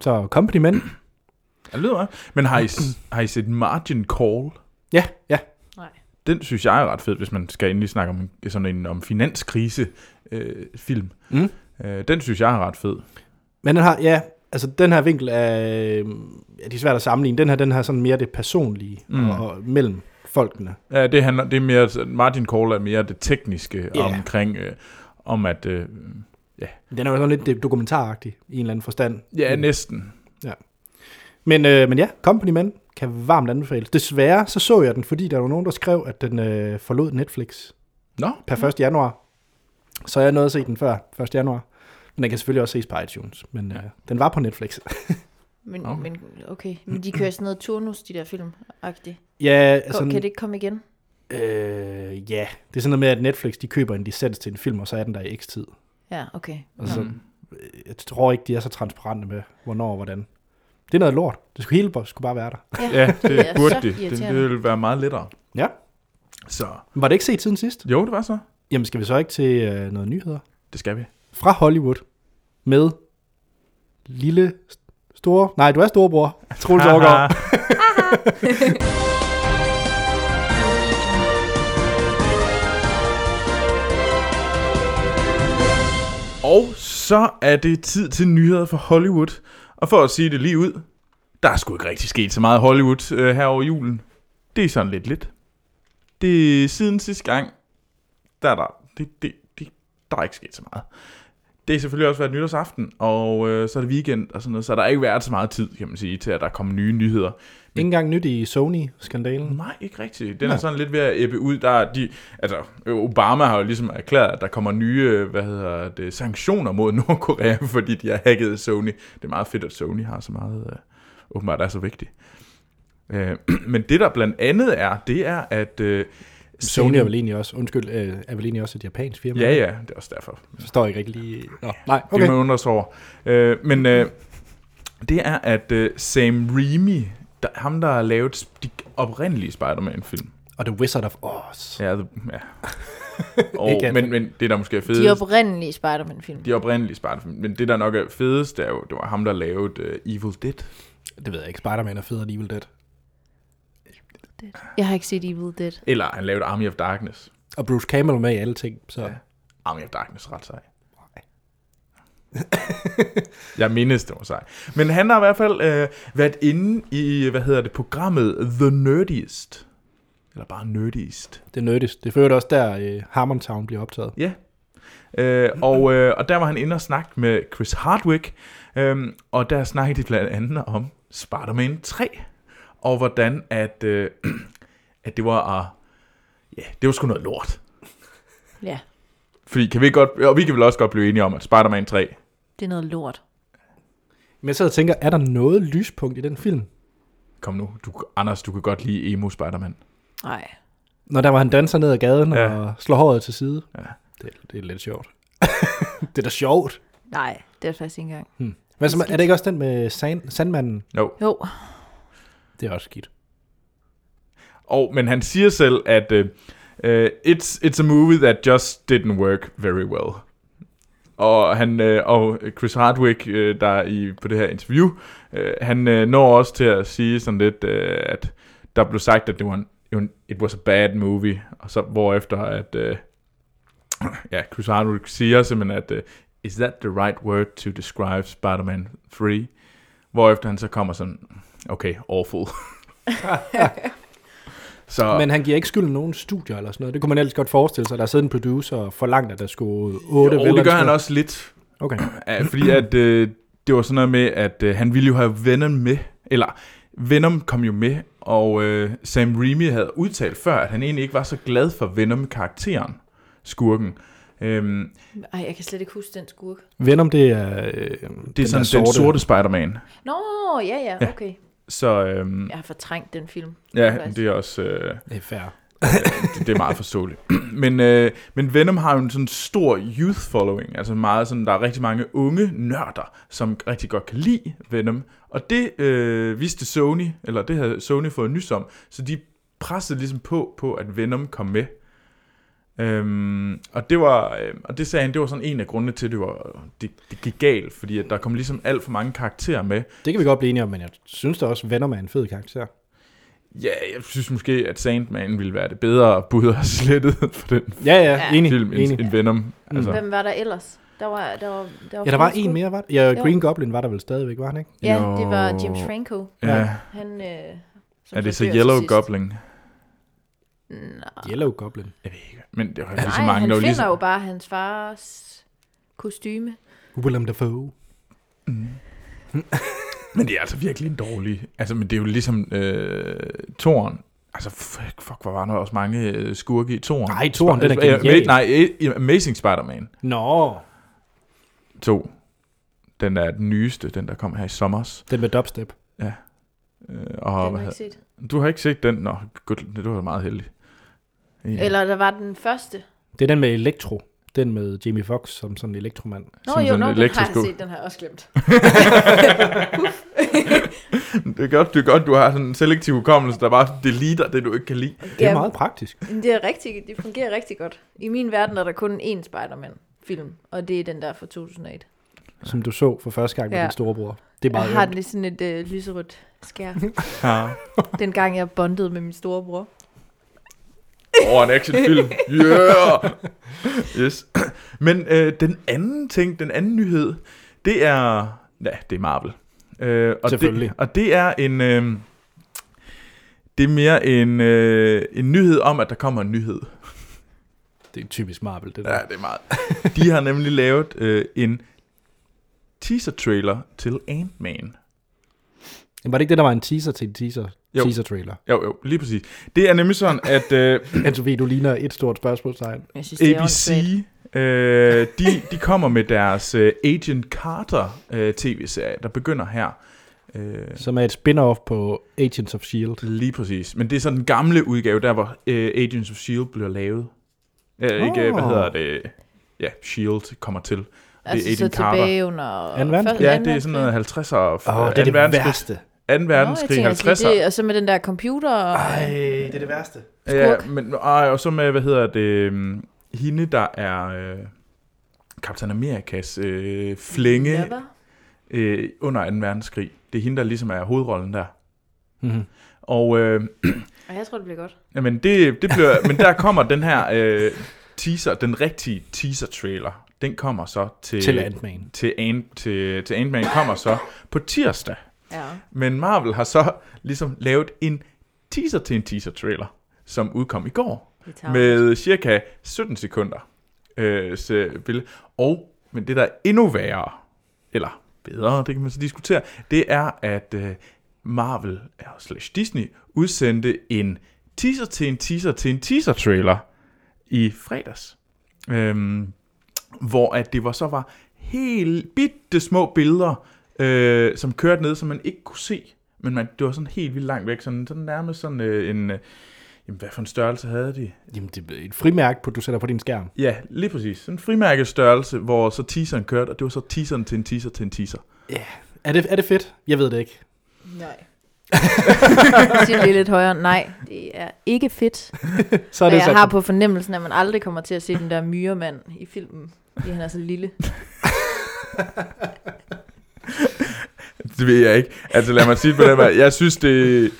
S1: Så Company Men,
S2: Ja, det lyder godt. Men har I, s- har I set Margin Call?
S1: ja, ja.
S3: Nej.
S2: Den synes jeg er ret fed, hvis man skal endelig snakke om en- sådan en om finanskrise-film. Øh, film.
S1: Mm.
S2: øh, den synes jeg er ret fed.
S1: Men den har, ja, altså den her vinkel er, øh, ja, det er svært at sammenligne. Den her, den har sådan mere det personlige
S2: Mm.
S1: mm. og, og, mellem folkene.
S2: Ja, det handler, det er mere, altså, Martin Call er mere det tekniske
S1: Ja.
S2: yeah. omkring, øh, om at, øh,
S1: Den er jo sådan lidt dokumentaragtig i en eller anden forstand.
S2: ja,
S1: Mm.
S2: næsten.
S1: Men, øh, men ja, Company Man kan varmt anbefales. Desværre så så jeg den, fordi der var nogen, der skrev, at den øh, forlod Netflix
S2: Nå,
S1: per 1. januar. Så jeg nåede at se den før 1. januar. Men den kan selvfølgelig også ses på iTunes, men øh, den var på Netflix.
S3: Men,
S2: Okay.
S3: okay. men okay. Men de kører sådan noget turnus, de der film -agtigt.
S1: Ja, altså,
S3: Kan det ikke komme igen?
S1: øh, ja, det er sådan noget med, at Netflix de køber en licens til en film, og så er den der i x tid.
S3: Ja, okay.
S1: Og så, øh, jeg tror ikke, de er så transparente med, hvornår og hvordan. Det er noget lort. Det skulle hele bare- skulle bare være der.
S2: Ja, det
S3: er
S2: burde
S3: så
S2: det. det. Det
S3: irriterende.
S2: ville være meget lettere.
S1: Ja.
S2: Så
S1: Men var det ikke set siden sidst?
S2: jo, det var så.
S1: Jamen, skal vi så ikke til øh, noget nyheder?
S2: Det skal vi.
S1: Fra Hollywood med lille, store... Nej, du er storebror. Troels Overgaard.
S2: Og så er det tid til nyheder fra Hollywood. Og for at sige det lige ud, der er sgu ikke rigtig sket så meget Hollywood øh, her over julen. Det er sådan lidt lidt. Det er siden sidste gang, der er der, det, det, det, der er ikke sket så meget. Det er selvfølgelig også været nytårsaften, og øh, så er det weekend og sådan noget, så der har ikke været så meget tid, kan man sige, til at der kommer nye nyheder.
S1: Ingen gang nyt i Sony-skandalen.
S2: Nej, ikke rigtigt. Den er
S1: Nej.
S2: sådan lidt ved at æbbe ud. Der er de, altså, øh, Obama har jo ligesom erklæret, at der kommer nye øh, hvad hedder det, sanktioner mod Nordkorea, fordi de har hacket Sony. Det er meget fedt, at Sony har så meget, øh, åbenbart er så vigtigt. Øh, men det, der blandt andet er, det er, at... Øh,
S1: Sony er vel egentlig også, undskyld, øh, er vel egentlig også et japansk firma?
S2: Ja, ja, det er også derfor.
S1: Forstår jeg ikke rigtig lige. Nå, nej,
S2: Okay.
S1: okay.
S2: Det må man undre sig over. Øh, men øh, det er, at øh, Sam Raimi, der, ham der har lavet sp- de oprindelige Spider-Man-film.
S1: Og The Wizard of Oz.
S2: Ja, the, ja. og,
S1: Ikke andet.
S2: men, men det, der måske er
S3: De
S2: fedest,
S3: oprindelige Spider-Man-film.
S2: de oprindelige spider men det, der nok er fedest, det er jo, det var ham, der lavede uh, Evil Dead.
S1: Det ved jeg ikke. Spider-Man er federe end Evil Dead.
S3: Jeg har ikke set Evil Dead.
S2: Eller han lavede Army of Darkness.
S1: Og Bruce Campbell er med i alle ting, så...
S2: Ja. Army of Darkness, ret sej. Jeg mindes, det var sej. Men han har i hvert fald øh, været inde i, hvad hedder det, programmet The Nerdiest. Eller bare Nerdiest.
S1: Det er nødigt. Det fører også der, øh, Harmontown bliver optaget.
S2: Ja. Øh, og, øh, og der var han inde og snakke med Chris Hardwick, øh, og der snakkede de blandt andet om Spider-Man 3, og hvordan at, øh, at det var, uh, ja, det var sgu noget lort.
S3: Ja,
S2: Fordi kan vi godt, og vi kan vel også godt blive enige om, at Spider-Man 3,
S3: det er noget lort.
S1: Men jeg sidder og tænker, er der noget lyspunkt i den film?
S2: kom nu, du, Anders, du kan godt lide emo Spider-Man.
S3: Nej.
S1: Når der var han danser ned ad gaden
S2: Ja.
S1: ja. og slår håret til side.
S2: Ja.
S1: Det, det er lidt sjovt. det er da sjovt.
S3: Nej, det er det faktisk ikke engang.
S1: Men så, er det ikke også den med sand, sandmanden?
S2: Jo.
S3: Jo,
S1: Det er også skidt.
S2: Og, men han siger selv, at øh, øh, it's, it's a movie that just didn't work very well. Og, han, øh, og Chris Hardwick, øh, der er i, på det her interview, øh, han øh, når også til at sige sådan lidt, øh, at der blev sagt, at det var en, det var en- it was a bad movie, og så hvorefter at, øh, ja, Chris Hardwick siger simpelthen, at øh, is that the right word to describe Spider-Man 3? Hvorefter han så kommer sådan, okay, awful. så,
S1: Men han giver ikke skylden nogen studier eller sådan noget. Det kunne man ellers godt forestille sig. Der sidder en producer og forlangt, at der skulle otte
S2: jo, det gør han også lidt,
S1: Okay.
S2: Ja, fordi at øh, det var sådan noget med, at øh, han ville jo have Venom med, eller Venom kom jo med, og øh, Sam Raimi havde udtalt før, at han egentlig ikke var så glad for Venom-karakteren, skurken. Øhm,
S3: Ej, jeg kan slet ikke huske den skurk.
S1: Venom, det er... Øh, det er
S2: det er sådan den sorte Spider-Man.
S3: Nå, ja, ja, okay.
S2: Så øhm,
S3: Jeg har fortrængt den film.
S2: ja,
S3: faktisk.
S2: det er også øh,
S1: Det er fair.
S2: det, det er meget forståeligt. men, øh, men Venom har jo en sådan stor youth following, altså meget sådan, der er rigtig mange unge nørder, som rigtig godt kan lide Venom. Og det øh, vidste Sony, eller det havde Sony fået nys om, så de pressede ligesom på, på at Venom kom med. Øhm, og det var, øh, og det sagde han, det var sådan en af grundene til, at det, var, det, det gik galt, fordi at der kom ligesom alt for mange karakterer med,
S1: Det kan vi godt blive enige om, men jeg synes da også, Venom er en fed karakter.
S2: Ja, jeg synes måske, at Sandman ville være det bedre bud at slette for den
S1: Ja, ja,
S3: Ja.
S1: enig,
S2: film
S1: enig.
S2: end, end Venom. Altså,
S3: Hvem var der ellers? Der var, der var, der var
S1: Ja, der var
S3: flere
S1: en
S3: skurke.
S1: mere, var der? Ja,
S3: Jo.
S1: Green Goblin var der vel stadigvæk, var han ikke?
S3: Ja,
S2: Jo.
S3: det var James Franco.
S2: ja.
S3: Han, øh, som
S2: Er det så
S3: dør til
S2: Yellow
S3: sidst.
S2: Goblin?
S3: Nej,
S1: Yellow Goblin.
S2: Jeg ved ikke. Men Altså, det var lige så
S3: Nej
S2: mange,
S3: han
S2: der ligesom- var lige
S3: finder jo
S2: så...
S3: bare hans fars kostyme.
S1: Willem Dafoe.
S2: Mm. Men det er altså virkelig en dårlig... Altså, men det er jo ligesom øh, Toren. Altså, fuck, fuck, hvor var der også mange øh, skurke i Toren. Øh,
S1: Nej, Thor'en, den er genial.
S2: Nej, i Amazing Spider-Man
S1: Nå,
S2: 2. Den der er den nyeste, den der kom her i sommers.
S1: Den med dubstep.
S2: Øh,
S3: har
S2: og,
S3: jeg
S2: hvad,
S3: ikke set.
S2: hed- du har ikke set den? Nå, gud, du var meget heldig. Ja.
S3: Eller der var den første.
S1: Det er den med elektro. Den med Jamie Foxx som sådan en elektromand.
S3: Nå
S2: Som
S3: jo,
S2: sådan
S3: nå,
S2: en
S3: den har jeg
S2: elektrisk
S3: set, den har jeg også glemt.
S2: det er godt, det er godt, du har sådan en selektiv hukommelse, der bare deleter det, du ikke kan lide.
S1: Det er meget praktisk.
S3: men det, er rigtig, det fungerer rigtig godt. I min verden er der kun én Spider-Man-film, og det er den der fra 2008.
S1: Som du så for første gang med
S3: Ja.
S1: din storebror. Det er
S3: Jeg
S1: meget
S3: har
S1: har
S3: lige sådan et øh, lyserødt skær,
S2: Ja.
S3: dengang jeg bondede med min storebror.
S2: Over en actionfilm. Yeah! Yes. Men øh, den anden ting, den anden nyhed, det er... Ja, det er Marvel. Øh, og
S1: Selvfølgelig.
S2: Det, og det er en... Øh, det er mere en, øh, en nyhed om, at der kommer en nyhed.
S1: Det er typisk Marvel, det der.
S2: Ja, det er meget. De har nemlig lavet øh, en teaser-trailer til Ant-Man.
S1: Men Var det ikke det, der var en teaser til en teaser?
S2: Jo.
S1: Teaser trailer.
S2: Jo, jo, lige præcis. Det er nemlig sådan, at... Øh,
S1: Antofi, du ligner et stort spørgsmålstegn.
S3: Jeg synes, det er
S2: ABC,
S3: åndssvagt.
S2: øh, de, de kommer med deres øh, Agent Carter øh, tv-serie, der begynder her. Øh,
S1: Som er et spin-off på Agents of S.H.I.E.L.D.
S2: lige præcis. Men det er så den gamle udgave, der hvor øh, Agents of S.H.I.E.L.D. bliver lavet. Øh, oh. Ikke, hvad
S3: Ah.
S1: Åh.
S2: hedder det? Ja, S.H.I.E.L.D. E kommer til.
S3: Altså,
S2: Agent
S3: så
S2: Carter.
S3: tilbage under...
S1: Anden verdenskrig?
S2: Ja, det er sådan noget 50'er og
S1: Åh, oh, det er det værste.
S2: 2. verdenskrig, 50'er.
S3: Og så med den der computer. Og,
S1: det er det værste.
S2: Ja,
S3: skurk.
S2: men, og, og så med, hvad hedder det, øhm, hende, der er øh, Captain Amerikas øh, flænge.
S3: Ja, hva?
S2: øh, under 2. verdenskrig. Det er hende, der ligesom er hovedrollen der.
S1: Mm-hmm.
S2: Og øh,
S3: Og jeg tror, det bliver godt.
S2: jamen det, det bliver, men der kommer den her øh, teaser, den rigtige teaser-trailer. Den kommer så til...
S1: Til Ant-Man.
S2: Til, Ant, til, til Ant-Man kommer så på tirsdag.
S3: Ja.
S2: Men Marvel har så ligesom lavet en teaser til en teaser-trailer, som udkom i går.
S3: Vi tager
S2: med cirka 17 sekunder. Øh, så vil- og, men det der er endnu værre, eller bedre, det kan man så diskutere, det er, at øh, Marvel øh, slash Disney udsendte en teaser til en teaser til en teaser trailer i fredags. Øhm, hvor at det var så var helt bitte små billeder, øh, som kørte ned, som man ikke kunne se. Men man, det var sådan helt vildt langt væk, sådan, sådan nærmest sådan øh, en... Øh, jamen, hvad for en størrelse havde de?
S1: Jamen, det er et frimærke, på, du sætter på din skærm.
S2: Ja, lige præcis. Sådan en frimærkestørrelse, hvor så teaseren kørte, og det var så teaseren til en teaser til en teaser.
S1: Er det, er det fedt? Jeg ved det ikke.
S3: Nej. Sig det lidt højere. Nej, det er ikke fedt.
S1: Så er
S3: Og
S1: det
S3: jeg
S1: sat.
S3: har på fornemmelsen, at man aldrig kommer til at se den der myremand i filmen, fordi han er så lille.
S2: Det ved jeg ikke. Altså lad mig sige det på den måde. Jeg synes, det...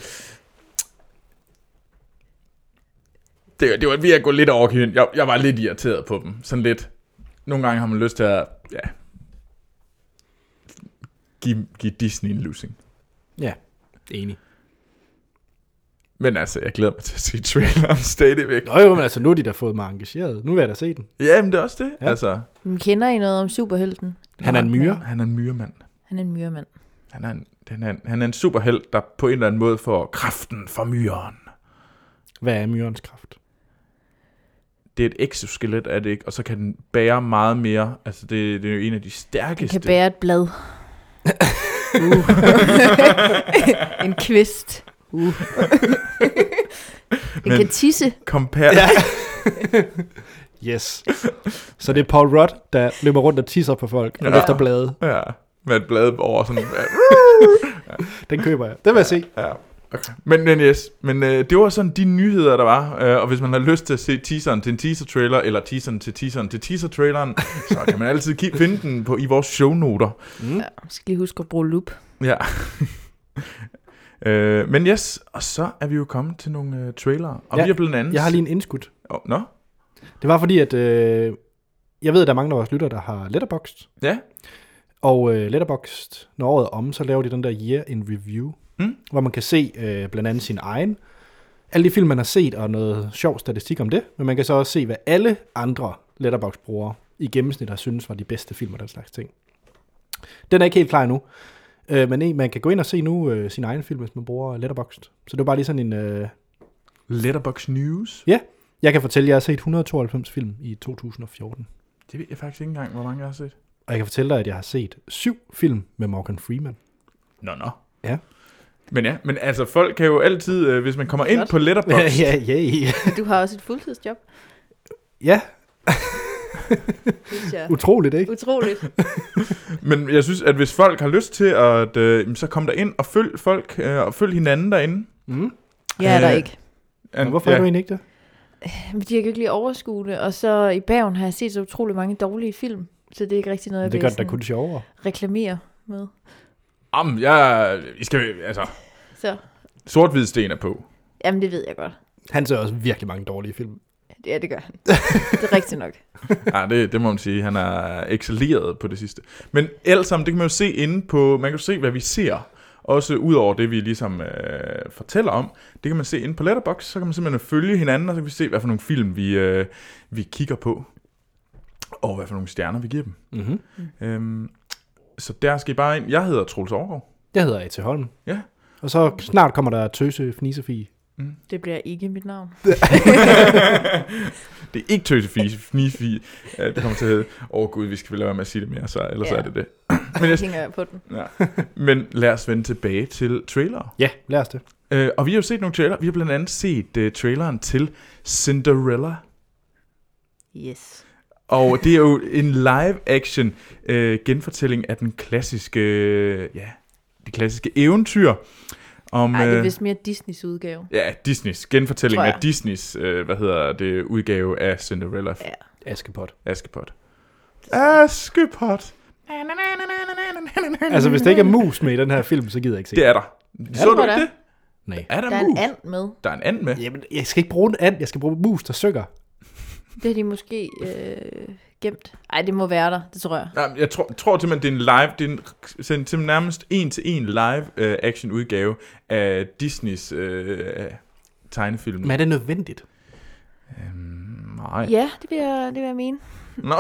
S2: Det, det var ved at gå lidt over hende. Jeg, jeg var lidt irriteret på dem. Sådan lidt. Nogle gange har man lyst til at... Ja, give, give Disney en losing.
S1: Ja, enig.
S2: Men altså, jeg glæder mig til at se traileren stadigvæk.
S1: Nå jo, men altså, nu er de da fået mig engageret. Nu vil jeg da se den.
S2: Ja, men det er også det.
S1: Ja.
S2: Ja. Altså,
S3: Men kender I noget om superhelten?
S1: Han er en myre.
S2: han er en myremand.
S3: Han er en myremand.
S2: Han er en, han er en, han er en superhelt, der på en eller anden måde får kraften fra myren.
S1: Hvad er myrens kraft?
S2: Det er et exoskelet, er det ikke? Og så kan den bære meget mere. Altså, det, det er jo en af de
S3: Han
S2: stærkeste.
S3: kan bære et blad. Uh. en kvist. Uh. Den
S2: Men-
S3: kan tisse.
S2: Compare, ja.
S1: Yes. Så det er Paul Rudd, der løber rundt og tisser på folk og
S2: Ja.
S1: ja. løfter blade.
S2: ja. Med et blad over sådan.
S1: Den køber jeg. Den vil jeg se.
S2: Ja. Okay. Men, men yes, men øh, det var sådan de nyheder, der var. Øh, og hvis man har lyst til at se teaseren til en teaser-trailer, eller teaseren til teaseren til teaser-traileren, så kan man altid ki- finde den på, i vores shownoter.
S1: Mm.
S3: Ja, jeg skal lige huske at bruge loop.
S2: Ja. øh, men yes, og så er vi jo kommet til nogle øh, trailere. Og
S1: Ja,
S2: vi er blandt andet...
S1: Jeg har lige en indskud.
S2: Oh, Nå?
S1: Det var fordi, at øh, jeg ved, at der er mange af vores lytter, der har Letterboxd.
S2: Ja.
S1: Og øh, Letterboxd, når året er om, så laver de den der Year in Review,
S2: Mm.
S1: hvor man kan se øh, blandt andet sin egen. Alle de film, man har set, og noget sjov statistik om det. Men man kan så også se, hvad alle andre Letterboxd-brugere i gennemsnit har syntes var de bedste film og den slags ting. Den er ikke helt klar endnu. Øh, men en, man kan gå ind og se nu øh, sin egen film, hvis man bruger Letterboxd. Så det var bare lige sådan en... Øh,
S2: Letterbox News.
S1: jeg kan fortælle, at jeg har set 192 film i 2014.
S2: Det ved jeg faktisk ikke engang, hvor mange jeg har set.
S1: Og jeg kan fortælle dig, at jeg har set syv film med Morgan Freeman.
S2: Nå, nå.
S1: Ja.
S2: Men ja, men altså folk kan jo altid, øh, hvis man kommer ind
S3: Flot.
S2: på Letterboxd,
S1: ja, ja.
S3: Du har også et fuldtidsjob,
S1: Ja,
S3: synes jeg.
S1: utroligt, ikke?
S3: Utroligt.
S2: Men jeg synes, at hvis folk har lyst til at, øh, jamen, så kom der ind og følg folk øh, og følg hinanden derinde.
S1: Mm.
S3: Jeg er der
S2: Øh,
S3: ikke.
S1: Men hvorfor ja. er du egentlig ikke det?
S3: Men de har jo ikke lige overskue det, og så i bagen har jeg set så utrolig mange dårlige film, så det er ikke rigtig noget, jeg
S1: Det
S3: vil
S1: gør det da
S3: sådan
S1: kun sjovere.
S3: reklamere med.
S2: Jamen, jeg, I skal, altså,
S3: Så,
S2: sort sten er på.
S3: jamen det ved jeg godt.
S1: Han ser også virkelig mange dårlige film.
S3: Ja, det gør han. det er rigtigt nok.
S2: Ja, det, det må man sige. Han er excelleret på det sidste. Men alt sammen, det kan man jo se inde på, man kan jo se, hvad vi ser. Også ud over det, vi ligesom øh, fortæller om. Det kan man se inde på Letterboxd. Så kan man simpelthen følge hinanden, og så kan vi se, hvad for nogle film, vi, øh, vi kigger på. Og hvad for nogle stjerner, vi giver dem.
S1: Mm-hmm.
S2: Øhm, så der skal I bare ind. Jeg hedder Troels Overgaard.
S1: Jeg hedder A.T. Holm.
S2: Ja.
S1: Og så snart kommer der tøse fnisefie.
S2: Mm.
S3: Det bliver ikke mit navn.
S2: det er ikke tøsefise, fnifi, øh, det kommer til at hedde. Åh oh, gud, vi skal vel lade være med at sige det mere, så, ellers
S3: Ja.
S2: er det det. Men, jeg,
S3: Hænger jeg på den.
S2: ja. Men lad os vende tilbage til trailer.
S1: Ja, lad os det.
S2: Øh, og vi har jo set nogle trailer. Vi har blandt andet set øh, traileren til Cinderella.
S3: Yes.
S2: Og det er jo en live-action øh, genfortælling af den klassiske, øh, ja, det klassiske eventyr. Om,
S3: Ej, det er
S2: øh,
S3: vist mere Disneys udgave.
S2: Ja, Disneys genfortælling
S3: Tror jeg.
S2: af Disneys, øh, hvad hedder det, udgave af Cinderella ja.
S3: Ja.
S1: Askepot.
S2: Askepot. Askepot.
S1: Altså, hvis der ikke er mus med i den her film, så gider jeg ikke se
S2: Det er der. Så
S3: der
S2: du
S3: det?
S2: ikke det?
S1: Nej.
S2: Er der,
S3: Der er
S2: mus?
S3: en and med.
S2: Der er en and med.
S1: Jamen, jeg skal ikke bruge en and. Jeg skal bruge mus, der synger.
S3: Det har de måske øh, gemt. Ej, det må være der, det tror jeg.
S2: Jamen, Jeg tror, tror simpelthen, det er en live, det er en, simpelthen nærmest en til en live øh, action udgave af Disneys øh, tegnefilm.
S1: Men er det nødvendigt?
S2: Øhm, nej.
S3: Ja, det vil jeg, det vil jeg mene.
S2: Nå.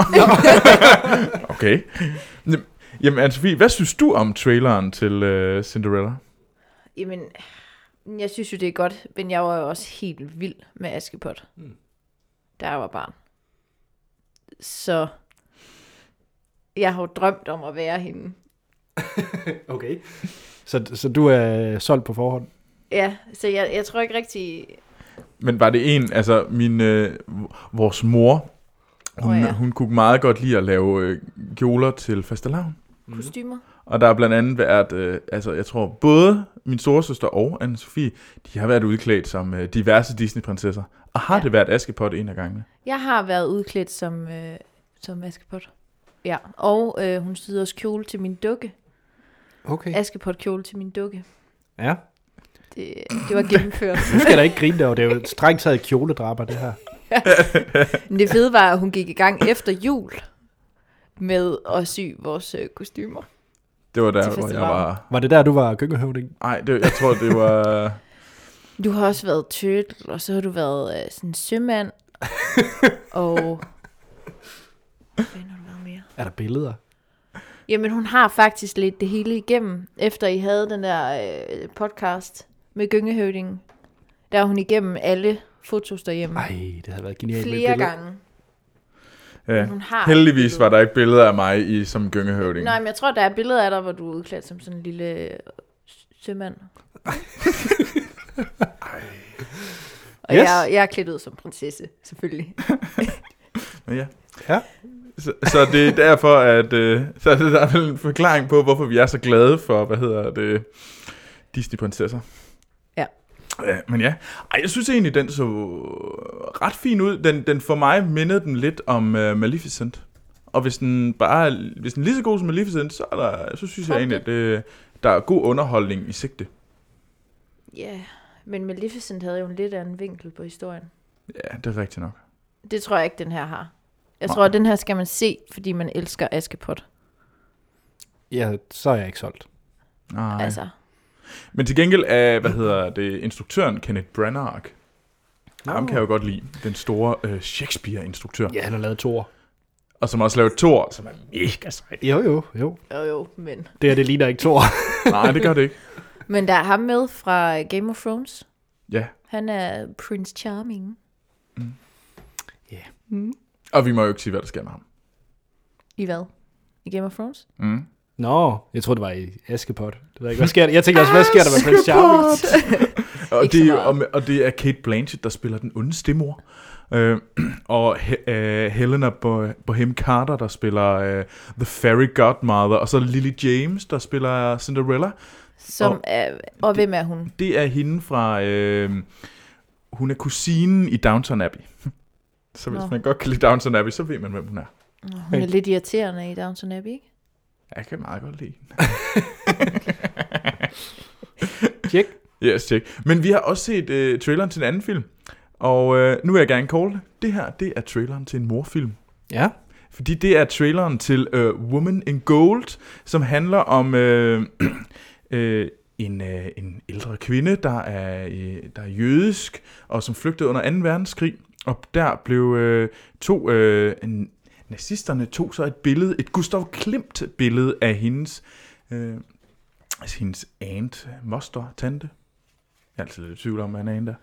S2: okay. Jamen, Anne-Sophie, hvad synes du om traileren til øh, Cinderella?
S3: Jamen, jeg synes jo, det er godt, men jeg var jo også helt vild med Askepot, mm. da jeg var barn. Så jeg har jo drømt om at være hende.
S1: Okay. Så, så du er solgt på forhånd?
S3: Ja, så jeg, jeg tror ikke rigtig...
S2: Men var det en, altså min, øh, vores mor, hun,
S3: Åh,
S2: oh,
S3: ja.
S2: ja. hun kunne meget godt lide at lave øh, kjoler til fastelavn.
S3: Kostymer?
S2: Og der har blandt andet været, øh, altså jeg tror både min storesøster og anne Sofie, de har været udklædt som øh, diverse Disney-prinsesser. Og har
S3: Ja.
S2: ja. det været Askepot en af gangene?
S3: Jeg har været udklædt som, øh, som Askepot. Ja, og øh, hun syede også kjole til min dukke.
S1: Mm. Okay.
S3: Askepot kjole til min dukke.
S1: Ja.
S3: Det, det var gennemført.
S1: Nu skal der ikke grine der, det er jo strengt taget kjoledraber, det her.
S3: Men det fede var, at hun gik i gang efter jul med at sy vores øh, kostymer.
S2: Det var
S3: Til
S2: der, hvor jeg
S3: fastelavn.
S2: var...
S1: Var det der, du var gyngehøvding?
S2: Nej, det, jeg tror, det var...
S3: Du har også været turtle, og så har du været øh, sådan sømand, og... Hvad fanden har du været mere?
S1: Er der billeder?
S3: Jamen, hun har faktisk lidt det hele igennem, efter I havde den der øh, podcast med gyngehøvdingen. Der er hun igennem alle fotos derhjemme.
S1: Nej, det havde været genialt. med et
S3: Mm. flere
S1: billede.
S3: gange.
S2: ja.
S3: Men hun har
S2: Heldigvis
S3: billeder.
S2: var der ikke billeder af mig i som gyngehøvding.
S3: Nej, men jeg tror, der er billeder af dig, hvor du er udklædt som sådan en lille øh, s- sømand. og
S1: Yes.
S3: yes. jeg, jeg er klædt ud som prinsesse, selvfølgelig.
S2: Men ja.
S1: Ja.
S2: Så, så det er derfor, at øh, så er det- der er vel en forklaring på, hvorfor vi er så glade for, hvad hedder det, Disney-prinsesser.
S3: Ja.
S2: Ja, men ja, Ej, jeg synes egentlig, den så ret fin ud. Den, den for mig mindede den lidt om øh, Maleficent. Og hvis den bare hvis den er lige så god som Maleficent, så, er der, så synes jeg
S3: Okay.
S2: egentlig, at øh, der er god underholdning i sigte.
S3: Ja, yeah. men Maleficent havde jo en lidt anden vinkel på historien.
S2: Ja, det er rigtigt nok.
S3: Det tror jeg ikke, den her har. Jeg
S2: Nej.
S3: tror, at den her skal man se, fordi man elsker Askepot.
S1: Ja, så er jeg ikke solgt.
S2: Nej. Altså.
S3: Altså,
S2: Men til gengæld er, hvad hedder det, instruktøren Kenneth Branagh, Ham kan jeg jo godt lide. Den store øh, Shakespeare-instruktør.
S1: Ja, han har lavet to år.
S2: Og som også lavede Thor, som er mega sej.
S1: Jo, jo, jo.
S3: jo jo, men...
S1: Det her, det ligner ikke to år.
S2: Nej, det gør det ikke.
S3: Men der er ham med fra Game of Thrones.
S2: Ja.
S3: Han er Prince Charming.
S2: Mm. Og vi må jo ikke sige, hvad der sker med ham.
S3: I hvad? i Game of Thrones.
S2: Mm.
S1: Nå, jeg tror det var i Askepot. Det ved jeg ikke. Hvad sker der? Jeg tænkte også, hvad sker der med Prince Charming?
S2: Og,
S3: Ikke så
S2: det, er-
S3: meget.
S2: og, med- og det er Kate Blanchett, der spiller den onde stemor. Øh, og he, øh, Helena Bo- Bohem Carter, der spiller øh, The Fairy Godmother. Og så Lily James, der spiller Cinderella.
S3: Som
S2: Og-
S3: og, er, og hvem er hun?
S2: Det er hende fra... Øh, hun er kusinen i Downton Abbey. Så hvis
S3: Nå.
S2: man godt kan lide Downton Abbey, så ved man, hvem hun er.
S3: Nå, Hun er lidt irriterende i Downton Abbey, ikke?
S2: Jeg kan meget godt lide hende.
S1: Tjek.
S2: Yes, check. Men vi har også set øh, traileren til en anden film. Og øh, nu vil jeg gerne call det. Det her, det er traileren til en morfilm.
S1: Ja.
S2: Fordi det er traileren til øh, Woman in Gold, som handler om øh, øh, en, øh, en ældre kvinde, der er, øh, der er jødisk, og som flygtede under 2. verdenskrig. Og der blev øh, to... Øh, en, nazisterne tog så et billede, et Gustav Klimt-billede af hendes... Øh, altså hendes aunt, moster, tante. Jeg er altid lidt i tvivl om, hvad han er en der.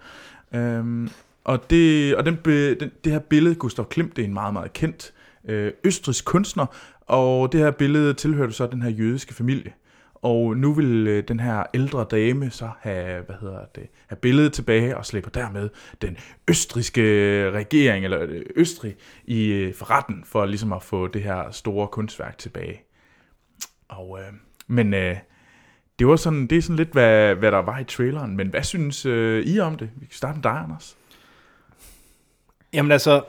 S2: Øhm, og det, og den, be- den, det her billede, Gustav Klimt, det er en meget, meget kendt øh, østrisk kunstner, og det her billede tilhørte så den her jødiske familie. Og nu vil øh, den her ældre dame så have, hvad hedder det, have billedet tilbage og slipper dermed den østriske regering, eller øh, Østrig, i øh, for retten for ligesom at få det her store kunstværk tilbage. Og, øh, men øh, det var sådan, det er sådan lidt, hvad, hvad der var i traileren. Men hvad synes øh, I om det? Vi kan starte med dig, Anders.
S1: Jamen altså,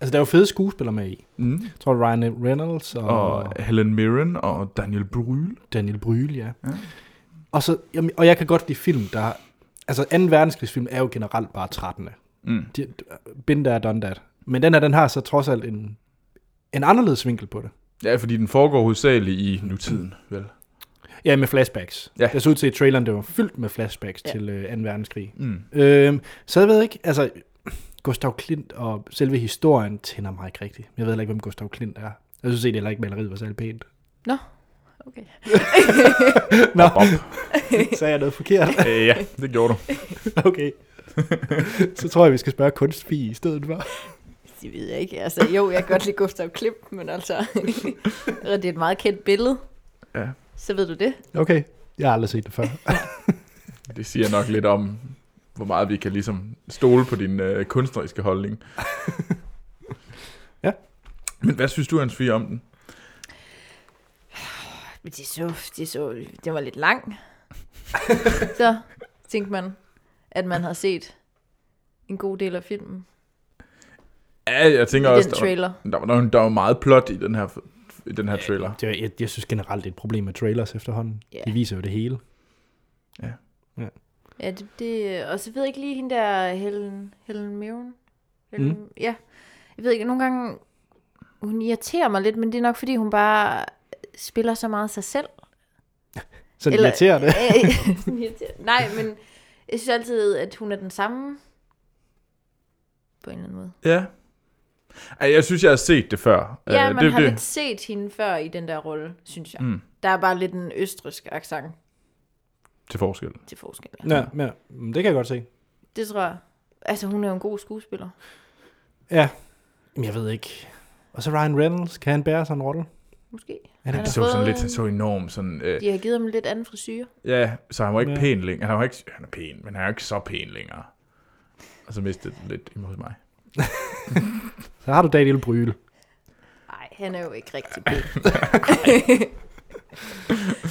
S1: altså der er jo fede skuespillere med i.
S2: Mm.
S1: Jeg tror Ryan Reynolds og, og
S2: Og øh, Helen Mirren og Daniel Brühl.
S1: Daniel Brühl, ja.
S2: Ja.
S1: ja. Og, så, jamen, og jeg kan godt lide film, der... Altså 2. verdenskrigsfilm er jo generelt bare 13.
S2: Mm.
S1: De, been there, done that. Men den her, den har så trods alt en, en anderledes vinkel på det.
S2: Ja, fordi den foregår hovedsageligt i nutiden, vel?
S1: Ja, med flashbacks.
S2: Ja.
S1: Ja. Jeg så ud til i traileren, det var fyldt med flashbacks
S3: Ja.
S1: ja. til øh, 2. verdenskrig.
S2: Mm.
S1: Øhm, så jeg ved ikke, altså Gustav Klint og selve historien tænder mig ikke rigtigt. Jeg ved heller ikke, hvem Gustav Klint er. Jeg synes egentlig heller ikke, maleriet var særlig pænt.
S3: Okay.
S1: Nå, sagde jeg noget forkert?
S2: Øh, ja, det gjorde du.
S1: Okay. så tror jeg, vi skal spørge kunstfi i stedet for.
S3: Det ved jeg ikke. Altså, jo, jeg kan godt lide Gustav Klimt, men altså... og det er et meget kendt billede.
S2: Ja.
S3: Så ved du det.
S1: Okay, jeg har aldrig set det før.
S2: Det siger nok lidt om, hvor meget vi kan ligesom stole på din øh, kunstneriske holdning.
S1: Ja.
S2: Men hvad synes du, Hans Fie, om den?
S3: Men de så, de så, det var lidt lang. så tænkte man, at man har set en god del af filmen
S2: Ja, jeg
S3: i
S2: tænker også,
S3: den
S2: der,
S3: trailer.
S2: var- der, var, der, var, der var meget plot i den her, i den her trailer.
S1: Det, jeg, jeg synes generelt, det er et problem med trailers efterhånden.
S3: Ja.
S1: Yeah. De viser jo det hele.
S3: Ja, det, det, og så ved jeg ikke lige hende der, Helen, Helen Mirren. Helen, mm. Ja, jeg ved ikke, nogle gange, hun irriterer mig lidt, men det er nok, fordi hun bare spiller så meget sig selv.
S1: Så det irriterer det.
S3: Øh, sådan irriterende. Nej, men jeg synes altid, at hun er den samme. På en eller anden måde.
S2: Ja. Ej, jeg synes, jeg har set det før.
S3: Ja,
S2: Øh,
S3: man
S2: det,
S3: har
S2: det.
S3: lidt set hende før i den der rolle, synes jeg.
S2: Mm.
S3: Mm. Der er bare lidt en østrisk accent
S2: Til forskel.
S3: til forskel.
S1: Ja, ja, men det kan jeg godt se.
S3: Det tror jeg. Altså, hun er jo en god skuespiller.
S1: Ja, men jeg ved ikke. Og så Ryan Reynolds, kan han bære sådan en rolle?
S3: Måske.
S1: Han
S3: Han
S1: er
S2: Det
S3: har
S2: så sådan
S3: fået-
S2: lidt, han så enormt sådan... Øh,
S3: De har givet ham lidt anden frisyr.
S2: Ja, så han var ikke ja.
S1: Ja.
S2: pæn længere. Han var ikke, han er pæn, men han er ikke så pæn længere. Og så mistede det lidt imod mig.
S1: Så har du Daniel Bryl.
S3: Nej, han er jo ikke rigtig pæn.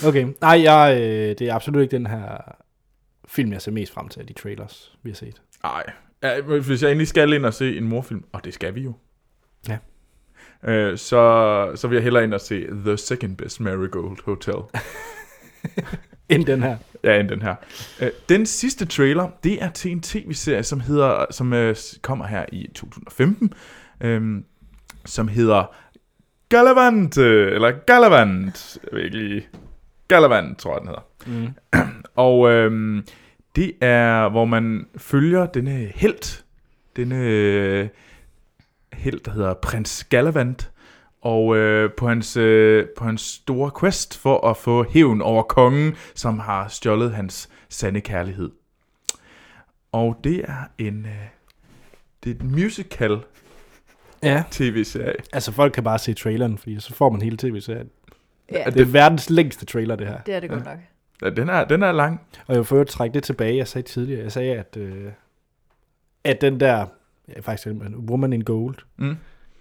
S1: Okay, nej, jeg, øh, det er absolut ikke den her film, jeg ser mest frem til af de trailers, vi har set.
S2: Nej. Ja, men hvis jeg endelig skal ind og se en morfilm, og det skal vi jo.
S1: Ja.
S2: Øh, så, så vil jeg hellere ind og se The Second Best Marigold Hotel.
S1: End den her.
S2: Ja, end den her. Øh, Den sidste trailer, det er til en tv-serie, som hedder, som øh, s- kommer her i 2015, øhm, som hedder Galavant, øh, eller Galavant, jeg ved ikke lige, Galavant, tror jeg, den hedder.
S1: Mm.
S2: Og øhm, det er, hvor man følger denne helt, denne øh, helt, der hedder Prins Galavant, og øh, på, hans, øh, på hans store quest for at få hævn over kongen, som har stjålet hans sande kærlighed. Og det er en øh, det er et musical
S1: Ja,
S2: tv-serie.
S1: altså folk kan bare se traileren, fordi så får man hele tv-serien.
S3: Ja,
S1: Det er verdens længste trailer, det her.
S3: det er det godt nok.
S2: Ja, den er, den er lang.
S1: Og jeg vil for øvrigt trække det tilbage, jeg sagde tidligere. Jeg sagde, at, øh, at den der, ja, faktisk den med Woman in Gold,
S2: Mm.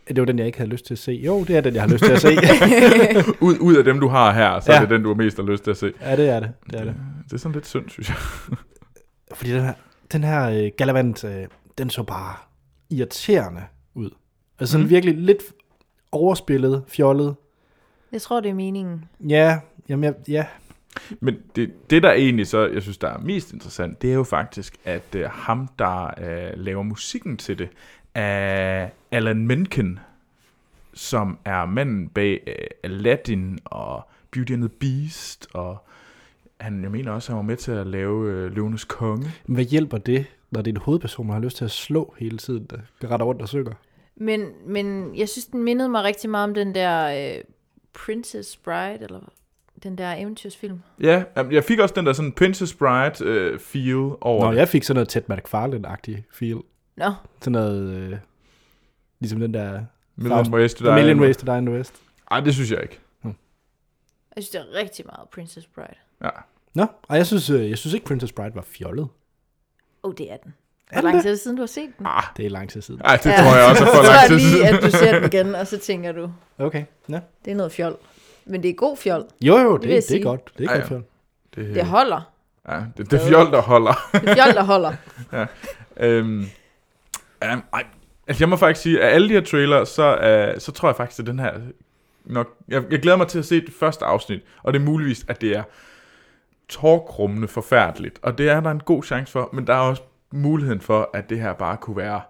S1: at det var den, jeg ikke havde lyst til at se. Jo, det er den, jeg har lyst til at se.
S2: Ud, ud af dem, du har her, så ja.
S1: Ja.
S2: er det den, du har mest har lyst til at se.
S1: ja, det er det. det, er det.
S2: Det er sådan lidt synd, synes jeg.
S1: Fordi den her, den her øh, Galavant, øh, den så bare irriterende ud. Altså sådan
S2: Mhm.
S1: mm. virkelig lidt overspillet, fjollet.
S3: Jeg tror, det er meningen.
S1: Ja, jamen jeg, ja.
S2: Men det, det, der egentlig så, jeg synes, der er mest interessant, det er jo faktisk, at øh, ham, der øh, laver musikken til det, er Alan Menken, som er manden bag øh, Aladdin og Beauty and the Beast, og han, jeg mener også, han var med til at lave øh, Løvenes Konge.
S1: Men Hvad hjælper det, når det er en hovedperson, man har lyst til at slå hele tiden, der retter rundt og synger?
S3: Men, men jeg synes, den mindede mig rigtig meget om den der øh, Princess Bride, eller den der eventyrsfilm.
S2: Ja, jamen, jeg fik også den der sådan Princess Bride øh, feel over
S1: Nå,
S2: det.
S1: jeg fik sådan noget Ted McFarlane-agtig feel.
S3: Nå,
S1: Sådan noget, øh, ligesom den der
S2: Million Ways to Die.
S1: The Million Ways to Die in the West.
S2: Ej, det synes jeg ikke.
S3: jeg synes, det er rigtig meget Princess Bride.
S2: Ja.
S1: Nå, og jeg synes, øh, jeg synes ikke, Princess Bride var fjollet.
S3: Åh, oh, det er den.
S1: Er
S3: Hvor
S1: den
S3: lang
S1: det?
S3: tid er det siden, du har set den?
S2: Ah,
S1: Det er lang tid siden.
S2: ej, det ja. tror jeg også er for
S3: Så tror
S2: lang
S3: jeg
S2: tid
S3: lige,
S2: siden.
S3: at du ser den igen, og så tænker du,
S1: Okay, ja.
S3: det er noget fjol. Men det er god fjol.
S1: Jo, jo, det,
S3: vil jeg
S1: det, det er
S3: sige.
S1: godt. Det er
S2: Ej,
S1: ikke
S2: ja.
S1: fjollet.
S3: Det holder.
S2: Ja, det, det er fjol, der holder.
S3: Det er fjol, der holder.
S2: Øhm, ja, ej, altså jeg må faktisk sige, at alle de her trailere, så, øh, så tror jeg faktisk, at den her... Nok, jeg, jeg glæder mig til at se det første afsnit, og det er muligvis, at det er tårkrummende forfærdeligt. Og det er der en god chance for, men der er også muligheden for, at det her bare kunne være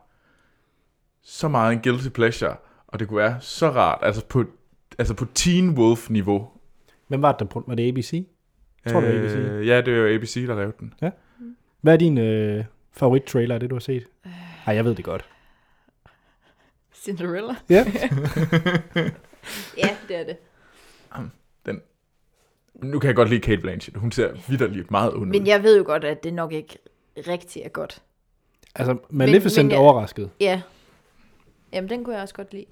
S2: så meget en guilty pleasure, og det kunne være så rart, altså på, altså på Teen Wolf-niveau.
S1: Hvem var det, der brugte- Var det ABC? Jeg tror, det var ABC.
S2: Øh, ja, det er jo ABC, der lavede den.
S1: Hvad er din øh, favorit-trailer af det, du har set? Ej, jeg ved det godt.
S3: Øh, Cinderella.
S1: Ja.
S3: ja, det er det.
S2: Nu kan jeg godt lide Kate Blanchett. Hun ser vidderligt meget ond ud.
S3: Men jeg ved jo godt, at det nok ikke rigtig er godt.
S1: Altså, Maleficent men,
S3: men
S1: men,
S3: jeg-
S1: er overrasket.
S3: Ja. Jamen, den kunne jeg også godt lide.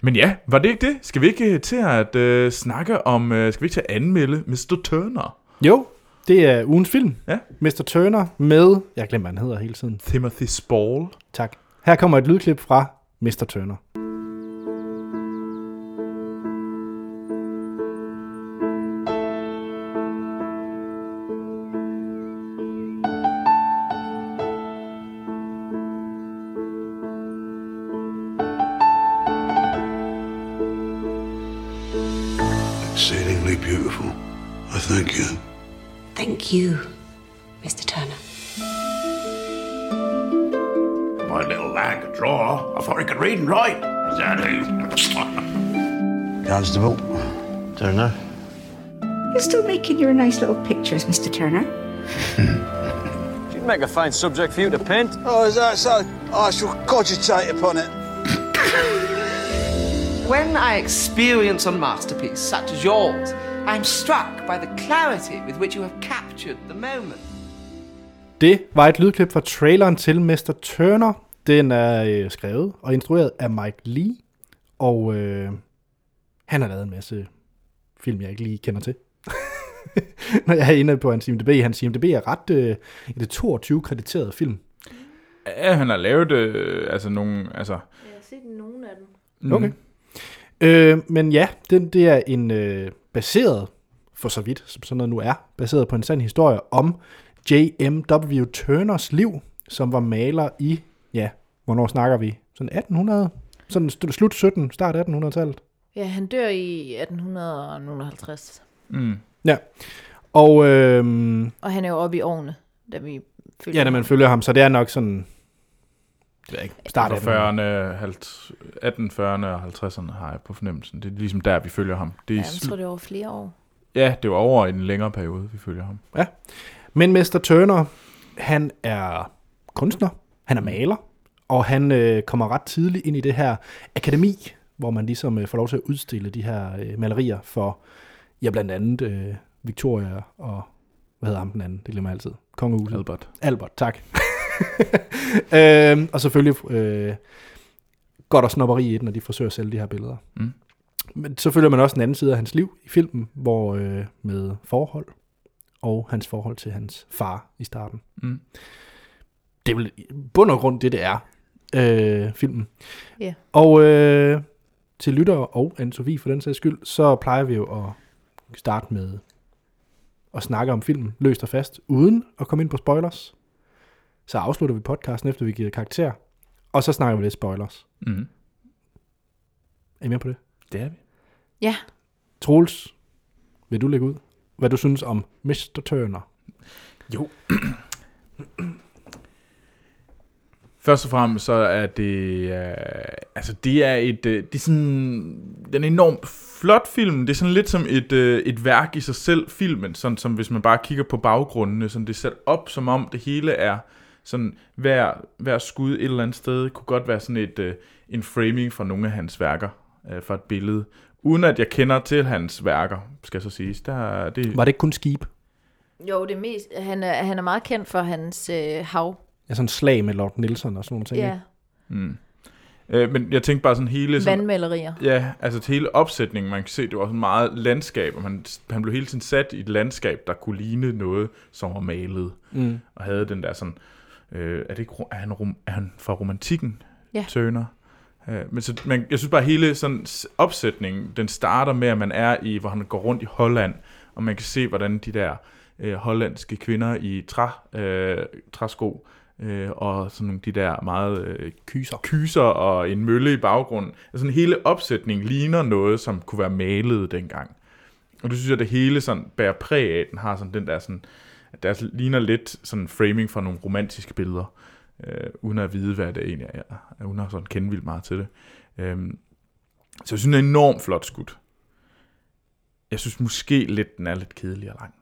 S2: Men ja, var det ikke det? Skal vi ikke øh, til at øh, snakke om, øh, skal vi ikke til at anmelde Mr. Turner?
S1: Jo, det er ugens film.
S2: Ja.
S1: Mr. Turner med, jeg glemmer, hvad han hedder hele tiden.
S2: Timothy Spall.
S1: Tak. Her kommer et lydklip fra Mr. Turner.
S4: exceedingly beautiful. I thank you.
S5: Thank you, Mr. Turner.
S4: My little lad could draw before he could read and write. Constable. Turner.
S5: You're still making your nice little pictures, Mr. Turner.
S6: You'd make a fine subject for you to paint.
S7: Oh, is that so? I shall cogitate upon it.
S8: When I experience a masterpiece such as yours, I'm struck by the clarity with which you have captured the moment.
S1: Det var et lydklip fra traileren til Mr. Turner. Den er øh, skrevet og instrueret af Mike Lee, og øh, han har lavet en masse film, jeg ikke lige kender til. Når jeg er inde på hans IMDb, hans IMDb er ret øh, i det 22 krediterede film.
S2: Ja, han har lavet øh, altså nogle... Altså,
S3: Jeg har set nogen af dem.
S1: Okay. Øh, men ja, den, det er en øh, baseret, for så vidt, som sådan noget nu er, baseret på en sand historie om J.M.W. Turners liv, som var maler i, ja, hvornår snakker vi? Sådan 1800? Sådan st- slut 17, start 1800-tallet.
S3: Ja, han dør i 1850.
S2: Mm.
S1: Ja. Og øh,
S3: Og han er jo oppe i årene, da vi følger
S1: ja, da man følger ham, så det er nok sådan, det ved jeg ikke, start
S2: Fra
S1: 40.
S2: 40'erne, 50 1840'erne og 50'erne har jeg på fornemmelsen. Det er ligesom der, vi følger ham. Det er
S3: Ja,
S2: ja,
S3: jeg tror, det er over flere år.
S2: ja, det var over en længere periode, vi følger ham.
S1: Men Mester Turner, han er kunstner, han er maler, og han øh, kommer ret tidligt ind i det her akademi, hvor man ligesom øh, får lov til at udstille de her øh, malerier for, ja, blandt andet øh, Victoria og, hvad hedder ham den anden, det glemmer jeg altid, kongehuset.
S2: Albert.
S1: Albert, tak. øhm, og selvfølgelig øh, går der snopperi i det, når de forsøger at sælge de her billeder.
S2: Mm.
S1: Men så følger man også den anden side af hans liv i filmen, hvor øh, med forhold og hans forhold til hans far i starten.
S2: Mm.
S1: Det er vel i bund og grund det, det er, øh, filmen.
S3: Ja.
S1: Og øh, til lyttere og Anne-Sophie for den sags skyld, så plejer vi jo at starte med at snakke om filmen løst og fast, uden at komme ind på spoilers. Så afslutter vi podcasten, efter vi giver karakter, og så snakker vi lidt spoilers.
S2: Mm.
S1: Er I med på det?
S2: Det er vi.
S3: Ja,
S1: Troels, vil du lægge ud, hvad du synes om Mr. Turner?
S2: Jo. Først og fremmest så er det, øh, altså det er et, øh, det er sådan, den er enormt flot film, det er sådan lidt som et, øh, et værk i sig selv, filmen, sådan som hvis man bare kigger på baggrundene, sådan det er sat op som om det hele er, sådan hver, hver skud et eller andet sted, kunne godt være sådan et, øh, en framing fra nogle af hans værker, øh, fra et billede, uden at jeg kender til hans værker, skal så siges, der, det,
S1: Var det ikke kun skib?
S3: jo, det er mest, han er, han er meget kendt for hans øh, hav.
S1: Ja, sådan slag med Lord Nelson og sådan nogle ting.
S3: Ja,
S1: ikke?
S2: øh, men jeg tænkte bare sådan hele, sådan,
S3: vandmalerier.
S2: Ja, altså til hele opsætningen, man kan se, det var sådan meget landskab, og man, han blev hele tiden sat i et landskab, der kunne ligne noget, som var malet, mm. og havde den der sådan, øh, er, det ikke, ro- er, han rom, er han fra romantikken,
S3: Ja.
S2: Turner? Øh, men så, man, jeg synes bare, hele sådan s- opsætningen, den starter med, at man er i, hvor han går rundt i Holland, og man kan se, hvordan de der øh, hollandske kvinder i træ, øh, træsko, øh, og sådan nogle de der meget øh, kyser. kyser og en mølle i baggrunden. Altså sådan hele opsætningen ligner noget, som kunne være malet dengang. Og det synes jeg, det hele sådan bærer præg af, at den har sådan den der sådan, at der ligner lidt sådan framing fra nogle romantiske billeder, øh, uden at vide, hvad det egentlig er, uden at sådan kende vildt meget til det. Øhm, så jeg synes, den er enormt flot skudt. Jeg synes måske lidt, den er lidt kedelig og lang.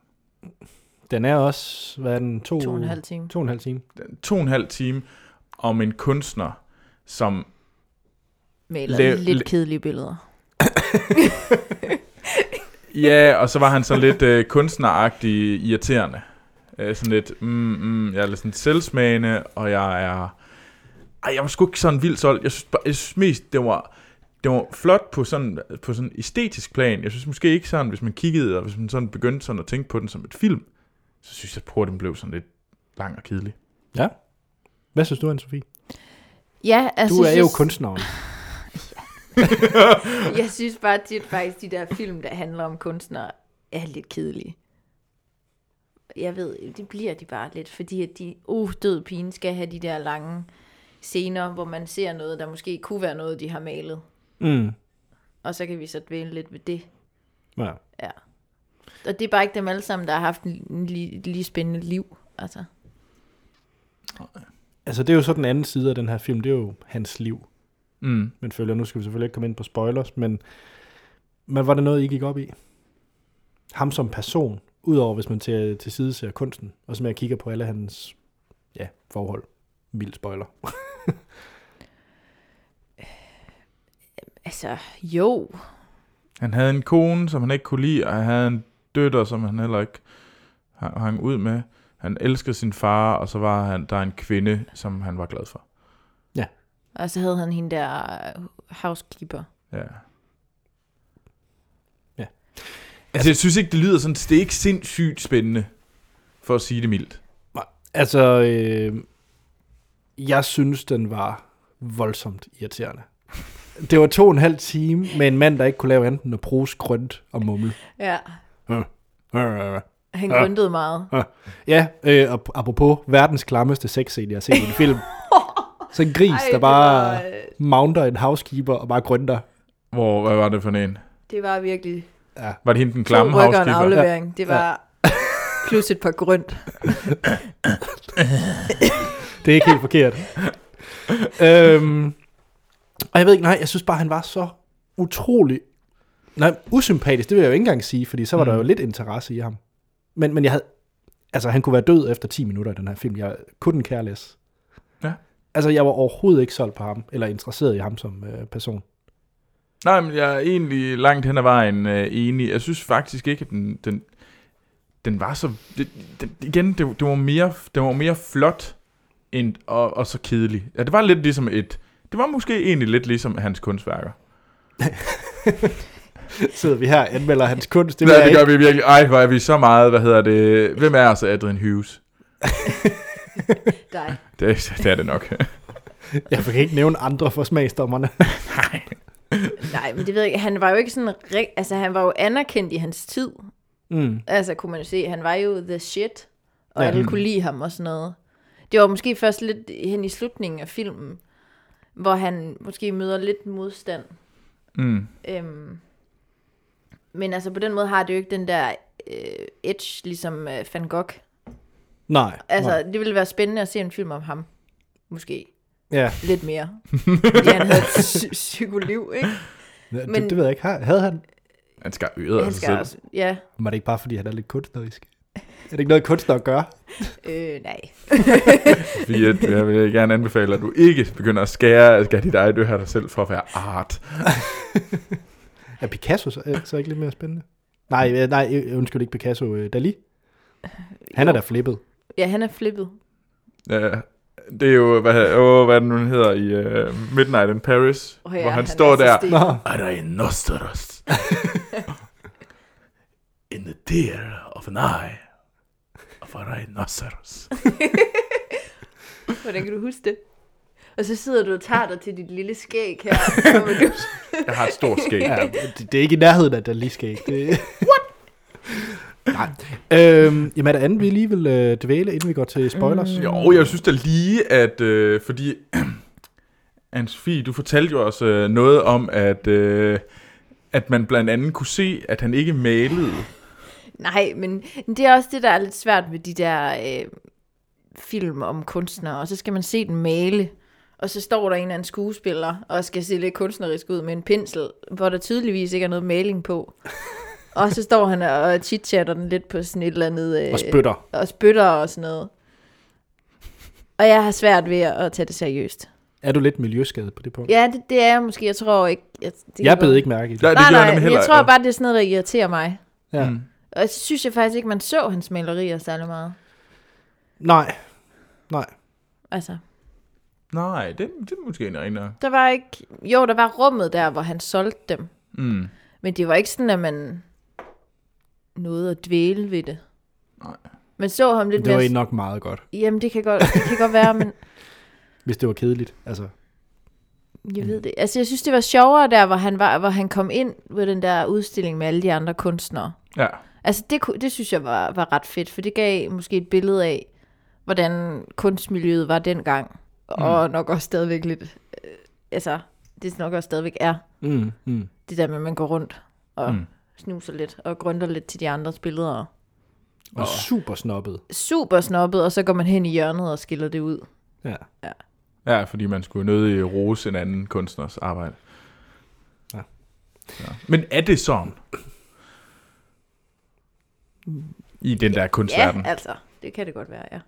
S1: Den er også, hvad er den? To,
S3: To og en halv time.
S1: To og en halv time.
S2: to og en halv time om en kunstner, som...
S3: Maler
S2: Lav-
S3: lidt
S2: la-
S3: kedelige billeder.
S2: Ja, og så var han sådan lidt øh, kunstneragtig irriterende. Øh, sådan lidt, mm, mm, jeg er lidt sådan selvsmagende, og jeg er... Ej, jeg var sgu ikke sådan vildt solgt. Jeg synes, bare, jeg synes mest, det var, det var flot på sådan, på sådan æstetisk plan. Jeg synes måske ikke sådan, hvis man kiggede, og hvis man sådan begyndte sådan at tænke på den som et film, så synes jeg, at den blev sådan lidt lang og kedelig.
S1: Ja. Hvad synes du, Anne-Sophie?
S3: Ja, altså,
S1: Du er
S3: jeg
S1: jo
S3: synes-
S1: kunstneren.
S3: Jeg synes bare tit faktisk, de der film, der handler om kunstnere, er lidt kedelige. Jeg ved, det bliver de bare lidt, fordi at de, uh, død pigen skal have de der lange scener, hvor man ser noget, der måske kunne være noget, de har malet.
S1: Mm.
S3: Og så kan vi så dvæle lidt ved det.
S1: Ja.
S3: Ja. Og det er bare ikke dem alle sammen, der har haft en en lige, et lige spændende liv. Altså.
S1: Altså, det er jo så den anden side af den her film, det er jo hans liv.
S2: Mm.
S1: Men følger, nu skal vi selvfølgelig ikke komme ind på spoilers, men, men var det noget, I gik op i? Ham som person, udover hvis man til, til side ser kunsten, og som jeg kigger på alle hans ja, forhold. Vild spoiler.
S3: altså, jo.
S2: Han havde en kone, som han ikke kunne lide, og han havde en døtter, som han heller ikke ha- hang ud med. Han elskede sin far, og så var han, der er en kvinde, som han var glad for.
S3: Og så havde han hende der øh, housekeeper.
S2: Ja.
S1: Ja.
S2: Altså, jeg synes ikke, det lyder sådan, det er ikke sindssygt spændende, for at sige det mildt.
S1: Nej, Altså, øh, jeg synes, den var voldsomt irriterende. Det var to og en halv time med en mand, der ikke kunne lave andet end at prose grønt og mumle.
S3: Ja,
S1: Øh, øh.
S3: han grøntede meget.
S1: Ja, øh, og apropos verdens klammeste sexscene, jeg har set i en film. Sådan en gris, Ej,
S3: Ej,
S1: der
S3: det
S1: bare
S3: var, øh,
S1: var... mounter en housekeeper og bare grønter.
S2: Hvor, hvad var det for en?
S3: Det var virkelig
S2: Var det hende den klamme
S3: to rykker og en
S2: housekeeper?
S3: aflevering. Det var plus et par grønt.
S1: Det er ikke helt forkert. øhm, og jeg ved ikke, nej, jeg synes bare, han var så utrolig... Nej, usympatisk, det vil jeg jo ikke engang sige, fordi så var mm. der jo lidt interesse i ham. Men, men jeg havde... Altså, han kunne være død efter 10 minutter i den her film. Jeg kunne care less.
S2: Ja.
S1: Altså, jeg var overhovedet ikke solgt på ham, eller interesseret i ham som øh, person.
S2: Nej, men jeg er egentlig langt hen ad vejen øh, enig. Jeg synes faktisk ikke, at den, den, den var så... Det, den, igen, det, det, var mere, det var mere flot en, og, og så kedelig. Ja, det var lidt ligesom et... Det var måske egentlig lidt ligesom hans kunstværker.
S1: Sidder vi her og anmelder hans kunst.
S2: Det,
S1: vil
S2: ja,
S1: jeg
S2: det gør
S1: ikke.
S2: vi virkelig. Ej, hvor er vi så meget, hvad hedder det... Hvem er altså Adrian Hughes?
S3: dig.
S2: Det, det er det nok.
S1: Jeg kan ikke nævne andre for smagsdommerne.
S3: Nej, men det ved jeg ikke. Han var jo ikke sådan... rig- Altså, han var jo anerkendt i hans tid. Mm. Altså, kunne man jo se. Han var jo the shit. Og
S1: Ja.
S3: ja. alle kunne lide ham og sådan noget. Det var måske først lidt hen i slutningen af filmen, hvor han måske møder lidt modstand.
S2: Mm.
S3: Øhm, men altså, på den måde har det jo ikke den der øh, edge, ligesom øh, Van Gogh.
S1: Nej.
S3: Altså,
S1: nej.
S3: det ville være spændende at se en film om ham. Måske.
S1: Ja,
S3: Lidt mere. Fordi han havde et psy- psykoliv, ikke?
S1: det,
S3: men-
S1: det ved jeg ikke. Har- Havde han?
S2: Han skal øret af
S3: Han
S2: sig
S3: skal
S2: selv.
S3: også, ja,
S1: Var det ikke bare, fordi han er lidt kunstnerisk? Er det ikke noget kunstner at gøre?
S3: øh, nej.
S2: Fordi at, jeg vil gerne anbefale, at du ikke begynder at skære, at skære dit eget øre dig selv for at være art.
S1: Er Picasso så, øh, så ikke lidt mere spændende? Nej, øh, nej, øh, undskyld ikke Picasso. øh, Dali? Han er da flippet.
S3: Ja, han er flippet.
S2: Ja, det er jo, hvad, åh, hvad den nu hedder i uh, Midnight in Paris,
S3: Åh
S2: hvor
S3: ja,
S2: han,
S3: han
S2: står
S3: er så
S2: der.
S3: stiv.
S1: Nå,
S4: Arai nosteros. In the tear of an eye of a rhinoceros.
S3: Hvordan kan du huske det? Og så sidder du og tager dig til dit lille skæg her. Så vil du...
S2: Jeg har et stort skæg.
S1: ja, det, det er ikke i nærheden af Dali skæg. Det... What? Nej. Øhm, jamen er der andet, vi lige vil øh, dvæle, inden vi går til spoilers? Mm.
S2: Jo, jeg synes da lige, at... Øh, fordi... Anne-Sophie, du fortalte jo os øh, noget om, at, øh, at man blandt andet kunne se, at han ikke malede.
S3: Nej, men det er også det, der er lidt svært med de der øh, film om kunstnere. Og så skal man se den male. Og så står der en eller anden skuespiller og skal se lidt kunstnerisk ud med en pensel, hvor der tydeligvis ikke er noget maling på. og så står han og chitchatter den lidt på sådan et eller andet... Øh,
S1: Og spytter.
S3: og spytter og sådan noget. Og jeg har svært ved at tage det seriøst.
S1: Er du lidt miljøskadet på det punkt?
S3: Ja, det, det er jeg måske. Jeg tror ikke... Jeg, det kan
S1: Jeg
S3: godt-
S1: bed ikke mærke i det.
S2: Nej, det
S3: Nej,
S2: gjorde han
S3: nej,
S2: nemlig
S3: jeg
S2: heller
S3: tror
S2: ikke.
S3: bare, det er sådan noget, der irriterer mig.
S1: Ja.
S2: Mm.
S3: Og så synes jeg faktisk ikke, man så hans malerier særlig meget.
S1: Nej. Nej.
S3: Altså,
S2: Nej, det, det er måske en ren nok.
S3: der var ikke... Jo, der var rummet der, hvor han solgte dem.
S2: Mm.
S3: Men det var ikke sådan, at man nåede at dvæle ved det.
S2: Nej.
S3: Man så ham lidt
S1: Det var
S3: mere...
S1: egentlig nok meget godt,
S3: Jamen, det kan, godt, det kan godt være, men
S1: hvis det var kedeligt. Altså,
S3: Jeg ved det. Altså, jeg synes, det var sjovere der, hvor han, var, hvor han kom ind ved den der udstilling med alle de andre kunstnere.
S2: Ja.
S3: Altså, det, kunne- det synes jeg var, var ret fedt, for det gav måske et billede af, hvordan kunstmiljøet var dengang, og nok også stadigvæk lidt, øh, altså, det nok også stadigvæk er,
S1: mm, mm.
S3: det der med, at man går rundt og
S2: Mm.
S3: mm. snuser lidt, og grønter lidt til de andres billeder. og
S1: Og oh. super snobbet.
S3: Super snobbet, og så går man hen i hjørnet og skiller det ud.
S1: Ja.
S2: Ja, fordi man skulle nødig rose en anden kunstners arbejde.
S1: Ja.
S2: ja. Men er det sådan? I den der kunstverden.
S3: Ja, altså, det kan det godt være, ja.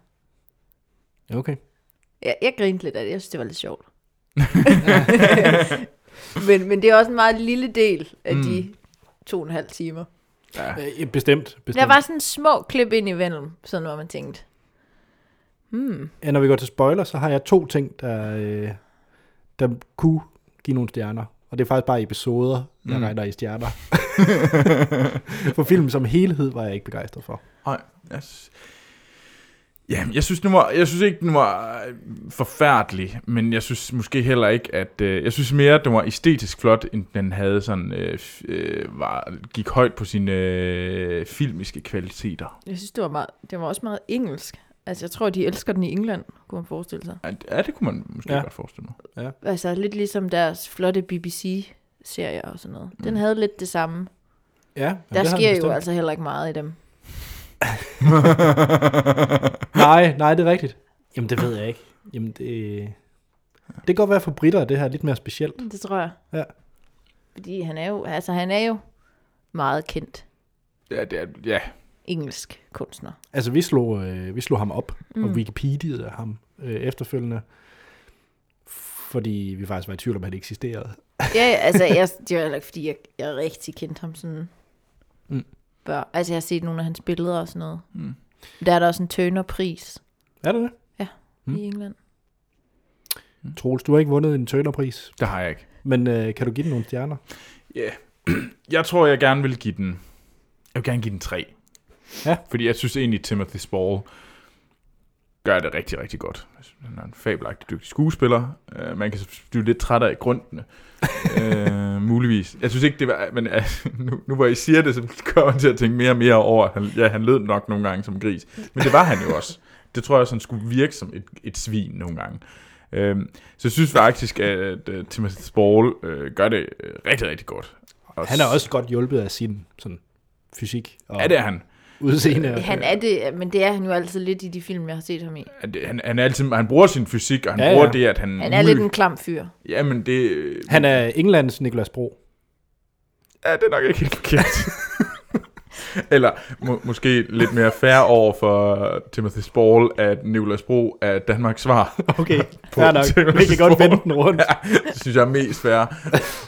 S1: Okay.
S3: Jeg, jeg grinede lidt af det. Jeg synes, det var lidt sjovt. men, men det er også en meget lille del af mm. de to og en halv timer.
S1: Øh, Bestemt.
S3: Der
S1: bestemt.
S3: var sådan små klip ind i vennen, sådan var man tænkte. "Hmm,
S1: Ja, når vi går til spoiler, så har jeg to ting, der, øh, der kunne give nogle stjerner. Og det er faktisk bare episoder, jeg mm. regner i stjerner. For filmen som helhed var jeg ikke begejstret for.
S2: Nej, jeg synes... Jamen, jeg synes, den var, jeg synes ikke, den var øh, forfærdelig, men jeg synes måske heller ikke, at... Øh, jeg synes mere, at den var æstetisk flot, end den havde sådan... Øh, f- øh, var, gik højt på sine øh, filmiske kvaliteter.
S3: Jeg synes, det var, meget, det var også meget engelsk. Altså, jeg tror, de elsker den i England, kunne man forestille sig.
S2: Ja, Ja, det kunne man måske
S1: Ja.
S2: ja. godt forestille mig.
S3: Altså, lidt ligesom deres flotte BBC-serier og sådan noget. Den havde lidt Mm. det samme.
S1: Ja,
S3: Der sker jo altså heller ikke meget i dem.
S1: Nej, nej, det er rigtigt. Jamen, det ved jeg ikke. Jamen, det... Det kan godt være for britter, at det her er lidt mere specielt.
S3: Det tror jeg.
S1: Ja.
S3: Fordi han er jo, altså, han er jo meget kendt
S2: Ja, det er, ja,
S3: engelsk kunstner.
S1: Altså, vi slog, øh, vi slog ham op, mm. og Wikipedia ham øh, efterfølgende, fordi vi faktisk var i tvivl om, at han eksisterede.
S3: Ja, ja, altså, jeg, det var heller ikke, fordi jeg, jeg rigtig kendte ham sådan mm. før. Altså, jeg har set nogle af hans billeder og sådan noget. Mm. Der er der også en Turner-pris.
S1: Er det det?
S3: Ja. hmm. i England.
S1: Troels, du har ikke vundet en Turner-pris,
S2: Det har jeg ikke.
S1: men øh, kan du give den nogle stjerner?
S2: Ja. Yeah. Jeg tror, jeg gerne vil give den... Jeg vil gerne give den 3.
S1: Ja.
S2: Fordi jeg synes egentlig, Timothy Spall gør det rigtig, rigtig godt. Jeg synes, Han er en fabelagtig dygtig skuespiller. Uh, man kan så blive lidt træt af grundene. uh, muligvis. Jeg synes ikke, det var... Men uh, nu, nu hvor I siger det, så kommer jeg til at tænke mere og mere over, at han, ja, han lød nok nogle gange som en gris. Men det var han jo også. Det tror jeg også, han skulle virke som et, et svin nogle gange. Øhm, så jeg synes faktisk, at uh, Timothy Spall øh, gør det øh, rigtig, rigtig godt. Og
S1: Han er også godt hjulpet af sin sådan, fysik og
S2: Ja, det er han.
S1: udseende. og-
S3: Han er det, men det er han jo altid lidt i de film, jeg har set ham i.
S2: Han, han, han, er altid, han bruger sin fysik, og han
S1: Ja,
S2: ja,
S1: ja.
S2: bruger det, at
S1: Mm.
S2: han...
S3: Han er lidt en klam fyr.
S2: Jamen, det... øh,
S1: Han er Englands Niklas Bro.
S2: Ja, det er nok ikke helt forkert. Eller må, måske lidt mere fair over for Timothy Spall, at Nicolas Bro er Danmarks svar.
S1: Okay,
S2: På
S1: fair nok.
S2: Timothy
S1: Vi kan godt
S2: Spall.
S1: vende den rundt.
S2: Ja, det synes jeg er mest fair.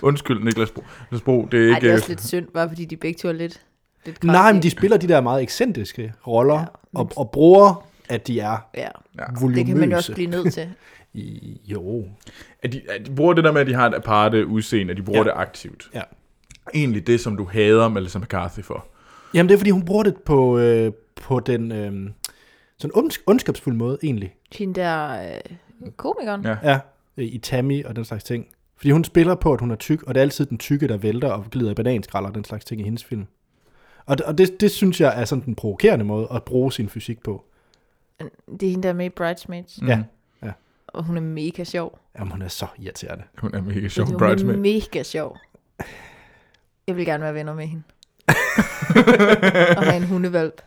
S2: Undskyld, Niklas Bro. Niklas Bro, det er
S3: Ej,
S2: ikke...
S3: det er også lidt synd, bare fordi de begge to er lidt, lidt kraftige.
S1: Nej, men de spiller de der meget ekscentriske roller,
S3: Ja.
S1: og, og bruger, at de er
S3: Ja,
S1: volumøse.
S3: det kan man også blive nødt til.
S1: I- Jo.
S2: At de, at de bruger det der med, at de har et aparte udseende, at de bruger
S1: Ja.
S2: ja. det aktivt.
S1: Ja.
S2: Egentlig det, som du hader Melissa McCarthy for.
S1: Jamen, det er, fordi hun bruger det på, øh, på den øh, sådan ondsk- ondskabsfulde måde, egentlig.
S3: Hende der øh, komikeren.
S2: Ja.
S3: Ja.
S1: Ja, øh, i Tammy og den slags ting. Fordi hun spiller på, at hun er tyk, og det er altid den tykke, der vælter og glider i bananskralder og den slags ting i hendes film. Og, det- og det, det synes jeg er sådan den provokerende måde at bruge sin fysik på.
S3: Det er hende der er med i Bridesmaids,
S1: Ja.
S3: og hun er mega sjov.
S1: Jamen, hun er så irriterende.
S2: Hun er mega
S3: Hun
S2: sjov.
S3: er
S2: bridesmaid.
S3: mega sjov. Jeg vil gerne være venner med hende. og have en hundevalp.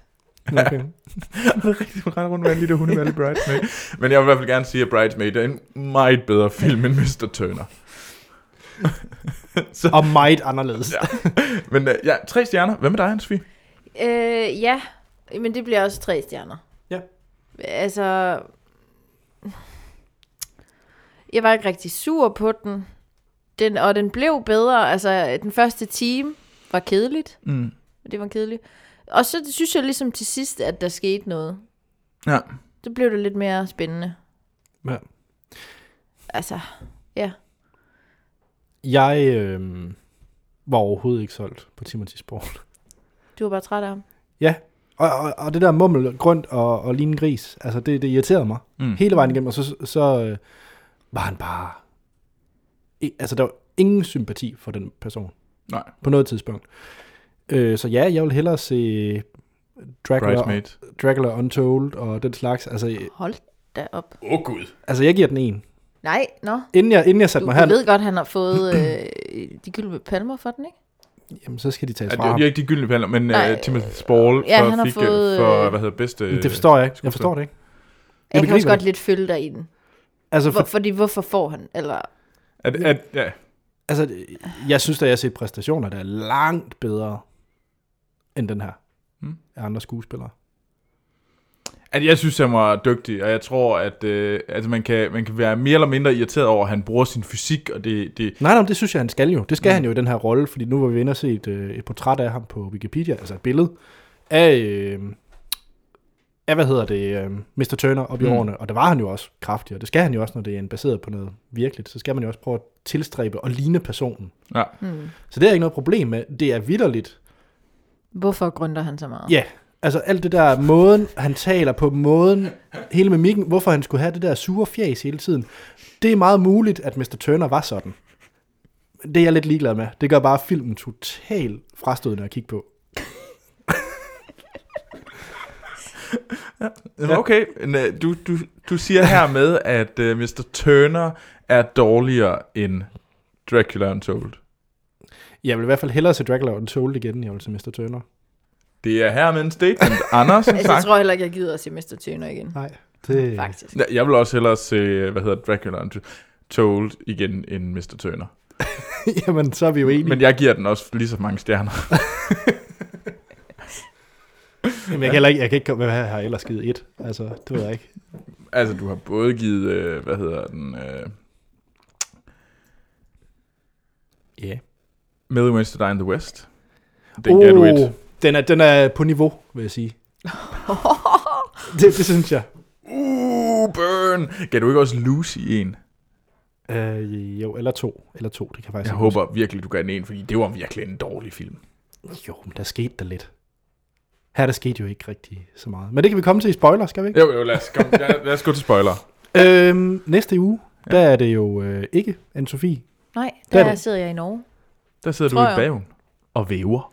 S1: Okay.
S2: Det er rigtigt, hun render rundt med en lille hundevalg i Bridesmaid. Men jeg vil i hvert fald gerne sige, at Bridesmaid er en meget bedre film end Mr. Turner.
S1: og meget anderledes. Ja.
S2: Men øh, ja, tre stjerner. Hvad med dig, hans Fie?
S3: Øh, ja, men det bliver også tre stjerner.
S1: Ja.
S3: Altså, jeg var ikke rigtig sur på den. den og den blev bedre. Altså, den første time var kedeligt.
S2: Mm.
S3: Det var kedeligt. Og så synes jeg ligesom til sidst, at der skete noget.
S2: Ja.
S3: Så blev det lidt mere spændende. Altså,
S1: Jeg øh, var overhovedet ikke solgt på Timothy Spall.
S3: du var bare træt af ham.
S1: Ja, og, og, og det der mummel, grønt og, og lignende gris, altså det, det irriterede mig mm.
S2: Mm.
S1: hele vejen igennem, og så, så øh, var han bare... I, altså, der var ingen sympati for den person
S2: Nej,
S1: på noget tidspunkt. Øh, så ja, jeg vil hellere se Dracula,
S2: Bridesmaid.
S1: Dracula Untold og den slags. Altså, øh,
S3: Hold da op.
S2: Åh oh, gud.
S1: altså jeg giver den en.
S3: Nej, nå.
S1: Inden jeg, inden jeg
S3: Du,
S1: satte mig
S3: du
S1: her,
S3: ved godt, han har fået øh, de gyldne palmer for den, ikke?
S1: jamen, så skal de tages
S2: Ja,
S1: fra ham.
S2: det er ikke de gyldne pander, men
S3: Nej,
S2: uh, Timothy Spall
S3: ja,
S2: ja, for,
S3: han har
S2: fik,
S3: fået,
S2: fået,
S3: øh,
S2: for hvad hedder bedste...
S1: Det forstår jeg ikke. Jeg forstår det ikke.
S3: Jeg, jeg kan også
S1: begriber
S3: godt
S1: det.
S3: lidt følge dig i den.
S1: Altså, for,
S3: Hvor, fordi hvorfor får han? Eller,
S2: At, at, ja.
S1: Altså, øh, jeg synes da, jeg har set præstationer, der er langt bedre end den her
S2: Mm.
S1: af andre skuespillere.
S2: at jeg synes, han var dygtig, og jeg tror, at øh, altså, man, kan, man kan være mere eller mindre irriteret over, at han bruger sin fysik, og det, det,
S1: Nej, nej, men det synes jeg, han skal jo. Det skal mm. han jo i den her rolle, fordi nu var vi inde og se et, øh, et portræt af ham på Wikipedia, altså et billede af, øh, af hvad hedder det, øh, Mr. Turner op i
S2: Mm.
S1: årene, og der var han jo også kraftig, og det skal han jo også, når det er en baseret på noget virkeligt, så skal man jo også prøve at tilstræbe og ligne personen.
S2: Ja.
S3: hmm.
S1: Så det er ikke noget problem med. Det er vidderligt,
S3: Hvorfor grønter han så meget?
S1: Ja, altså alt det der måden, han taler på, måden, hele mimikken, hvorfor han skulle have det der sure fjæs hele tiden. Det er meget muligt, at Mr. Turner var sådan. Det er jeg lidt ligeglad med. Det gør bare filmen totalt frastødende at kigge på.
S2: Jamen, Okay, men, øh, du, du, du siger hermed, at uh, Mr. Turner er dårligere end Dracula Untold.
S1: Jeg vil i hvert fald hellere se Dracula Untold igen, end jeg vil se Mr. Turner.
S2: Det er hermed en statement, Anders.
S3: Altså, jeg
S2: tak.
S3: tror heller ikke, jeg gider at se Mr. Tøner igen.
S1: Nej, det...
S3: Faktisk.
S2: Ja, Jeg vil også hellere se, øh, hvad hedder Dracula Untold igen end Mr. Turner.
S1: Jamen, så er vi jo enige.
S2: Men jeg giver den også lige så mange stjerner.
S1: Jamen, jeg, kan heller ikke, jeg kan ikke komme med, har ellers givet et. Altså, det ved jeg ikke.
S2: Altså, du har både givet, øh, hvad hedder den, øh,
S1: Ja. Yeah.
S2: Millie Wednesday Die in the West. Den oh. gav du et.
S1: Den er, den er på niveau, vil jeg sige. det, det synes jeg.
S2: Uh, burn! sådan, gav du ikke også Lucy en?
S1: Øh, jo, eller to. Eller to, det kan jeg faktisk ikke
S2: Jeg håber virkelig, du gav den en, fordi det var virkelig en dårlig film.
S1: huske. Jo, men der skete der lidt. Her der skete jo ikke rigtig så meget. Men det kan vi komme til i spoiler, skal vi ikke?
S2: Jo, jo, lad os, kom, lad, lad os gå til spoiler.
S1: Øhm, næste uge, ja. der er det jo øh, ikke Anne-Sophie.
S3: Nej,
S1: Det
S3: der
S1: er
S3: det det.
S1: det.
S3: sidder jeg i Norge.
S2: Der sidder
S3: Tror
S2: du i
S3: jeg.
S2: bagen og væver.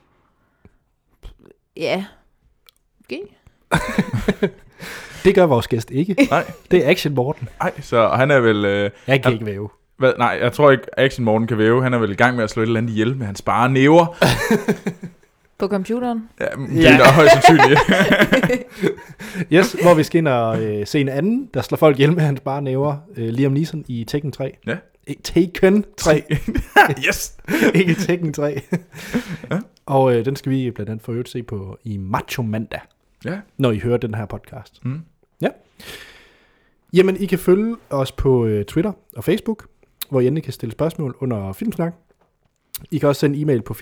S3: Ja. Okay.
S1: Det gør vores gæst ikke.
S2: Nej,
S1: Det er Action Morten.
S2: nej, så han er vel... Øh,
S1: Jeg kan
S2: Han-
S1: ikke væve.
S2: hvad, nej, jeg tror ikke, Action Morten kan væve. Han er vel i gang med at slå et eller andet ihjel med hans bare næver.
S3: På computeren.
S2: Ja, det er da højst sandsynligt.
S1: Yes, hvor vi skal ind og øh, se en anden, der slår folk ihjel med hans bare næver. Øh, Liam Neeson i Tekken 3.
S2: Ja.
S1: I Tekken 3,
S2: yes!
S1: ikke Tekken 3. ja. Og øh, den skal vi blandt andet for øvrigt se på i Macho Mandag.
S2: Ja,
S1: når I hører den her podcast.
S2: Mm.
S1: Ja. Jamen, I kan følge os på øh, Twitter og Facebook, hvor I endelig kan stille spørgsmål under Filmsnak. I kan også sende en e-mail på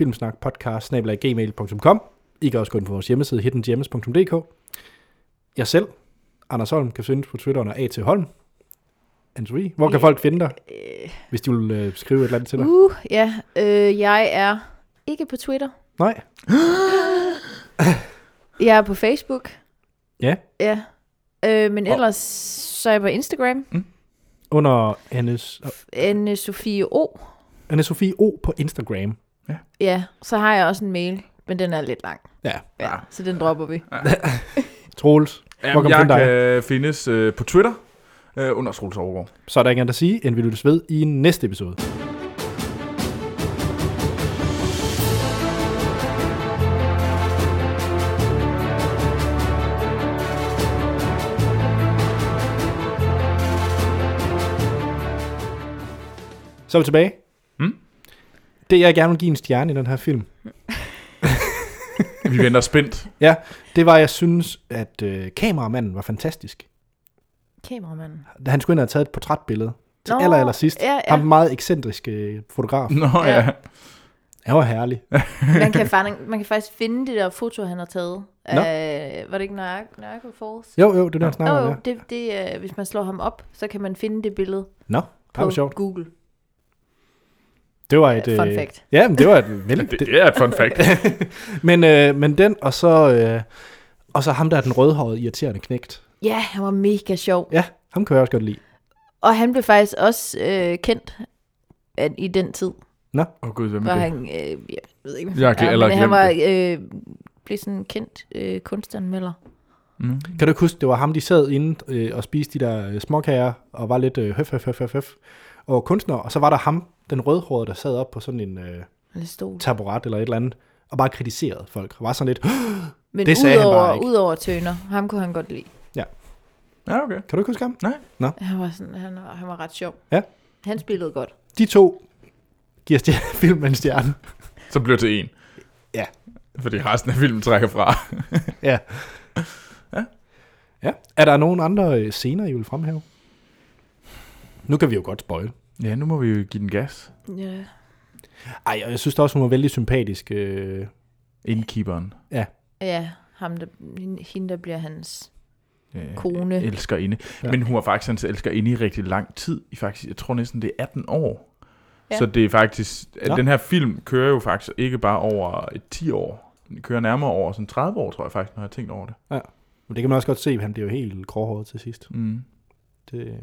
S1: filmsnakpodcast.gmail.com I kan også gå ind på vores hjemmeside hiddengems.dk Jeg selv, Anders Holm, kan findes på Twitter under A.T. Holm. Anne-Sophie, hvor kan folk finde dig, hvis de vil øh, skrive et eller andet til dig?
S3: Uh, ja. Øh, jeg er ikke på Twitter.
S1: Nej?
S3: Jeg er på Facebook.
S1: Ja.
S3: Ja. Øh, men ellers så er jeg på Instagram.
S1: Under Anne-
S3: Anne Sofie O.
S1: Anne-Sophie O. på Instagram.
S3: Ja, så har jeg også en mail, men den er lidt lang.
S1: Ja.
S3: Ja, så den dropper vi.
S1: Troels, hvor
S2: Jamen,
S1: kan man
S2: jeg
S1: finde dig?
S2: kan findes øh, på Twitter øh, under Troels Overgaard.
S1: Så er der ikke andet at sige, end vi lyttes ved i næste episode. Så er vi tilbage.
S2: Mm.
S1: Det, jeg gerne vil give en stjerne i den her film,
S2: Vi venter spændt.
S1: ja, det var, at jeg synes, at øh, kameramanden var fantastisk.
S3: Kameramanden.
S1: Han skulle ind og have taget et portrætbillede til
S3: Nå,
S1: aller, aller sidst.
S3: ja, ja.
S1: Ham meget ekscentriske øh, fotograf.
S2: Nå ja.
S3: Ja.
S2: ja.
S1: Han var herlig.
S3: Man kan, fan, man kan faktisk finde det der foto, han har taget. Øh, var det ikke Niagara Niagara Falls?
S1: Jo, jo, det er der, han
S3: Jo,
S1: snakker
S3: jo,
S1: om, ja.
S3: det, det, øh, hvis man slår ham op, så kan man finde det billede
S1: Nå, det var
S3: på
S1: sjovt.
S3: Google.
S1: Det var et...
S3: Øh, fun
S1: øh,
S3: fact.
S1: Ja, men det var et vel...
S2: Det, det er et fun fact.
S1: men, øh, men den, og så... Øh, og så ham, der er den rødhårede, irriterende knægt.
S3: Ja, han var mega sjov.
S1: Ja, ham kan jeg også godt lide.
S3: Og han blev faktisk også øh, kendt at, i den tid,
S2: Åh oh, gud, hvem
S3: hvor
S2: er det?
S3: han, øh, jeg ved ikke,
S2: Jeg har glemt- eller
S3: men han
S2: glemt
S3: var, øh, blev sådan en kendt øh, kunstanmelder.
S2: Mm.
S1: Kan du ikke huske, det var ham, de sad inde øh, og spiste de der øh, småkager, og var lidt øh, høf, høf, høf, høf, høf, og kunstner, og så var der ham, den rødhårede, der sad op på sådan en øh,
S3: Eller stol.
S1: taburet eller et eller andet, og bare kritiserede folk, og var sådan lidt, kan
S3: Men
S1: Det sagde han
S3: udover,
S1: bare ikke.
S3: udover Tøner, ham kunne han godt lide.
S2: Ja, okay.
S1: du ikke huske ham?
S2: Nej.
S3: Han var, sådan, han, var- han var ret sjov.
S1: Ja.
S3: Han spillede godt.
S1: De to giver stjerne, filmen en stjerne.
S2: Så bliver det til en.
S1: Ja.
S2: Fordi resten af filmen trækker fra.
S1: Ja. ja. Ja. Er der nogen andre øh, scener, I vil fremhæve? Nu kan vi jo godt spoil.
S2: Ja, nu må vi jo give den gas.
S3: Ja.
S1: Ej, og jeg synes da også, hun var vældig sympatisk. Øh,
S2: Indkeeperen.
S3: ja, ham der, hende der bliver hans
S2: Øh,
S3: kone.
S2: elsker inde. Ja. Men hun var faktisk hans elsker inde i rigtig lang tid. I faktisk, jeg tror næsten, det er 18 år.
S3: Ja.
S2: Ja. Så det er faktisk...
S1: Nå.
S2: Ja. Den her film kører jo faktisk ikke bare over et 10 år. Den kører nærmere over sådan 30 år, tror jeg faktisk, når jeg har tænkt over det.
S1: men det kan man også godt se, han bliver jo helt gråhåret til sidst.
S2: Mm.
S1: Det,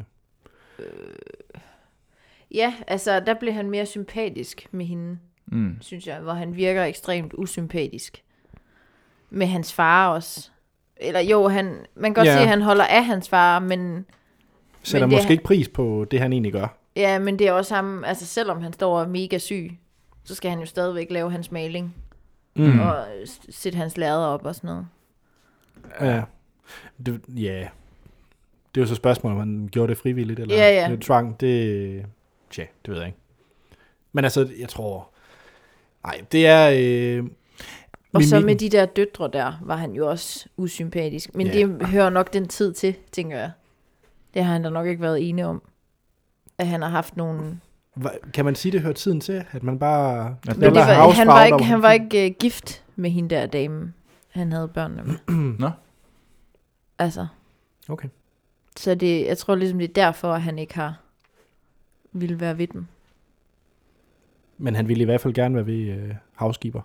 S3: Ja, altså der blev han mere sympatisk med hende,
S2: Mm.
S3: synes jeg, hvor han virker ekstremt usympatisk. Med hans far også. Eller jo, han, man kan godt
S1: Ja.
S3: se, at han holder af hans far, men
S1: sætter
S3: Men det-
S1: måske ikke pris på det, han egentlig gør.
S3: ja, men det er også ham, altså selvom han står og er mega syg, så skal han jo stadigvæk lave hans maling. Mm. Og s- sætte hans lader op og sådan noget.
S1: Ja. Det, ja. Det er jo så spørgsmålet, om han gjorde det frivilligt, eller
S3: Ja, ja.
S1: det tvang. Det, tja, det ved jeg ikke. Men altså, jeg tror... Nej, det er... Øh,
S3: Og så
S1: mimikken.
S3: med de der døtre der, var han jo også usympatisk. Men
S1: Ja.
S3: det hører nok den tid til, tænker jeg. Det har han da nok ikke været ene om. At han har haft nogle...
S1: Hva- Kan man sige, det hører tiden til, at man bare...
S2: Ja, Men
S3: Men det
S1: Eller
S3: var, han, var
S1: housefarver,
S3: ikke,
S1: hvor
S3: han
S1: man-
S3: var ikke uh, gift med hende der dame, han havde børnene med.
S2: Nå.
S3: Altså,
S1: Okay.
S3: Så det, jeg tror ligesom, det er derfor, at han ikke har ville være ved dem.
S1: Men han ville i hvert fald gerne være ved øh, havskiber.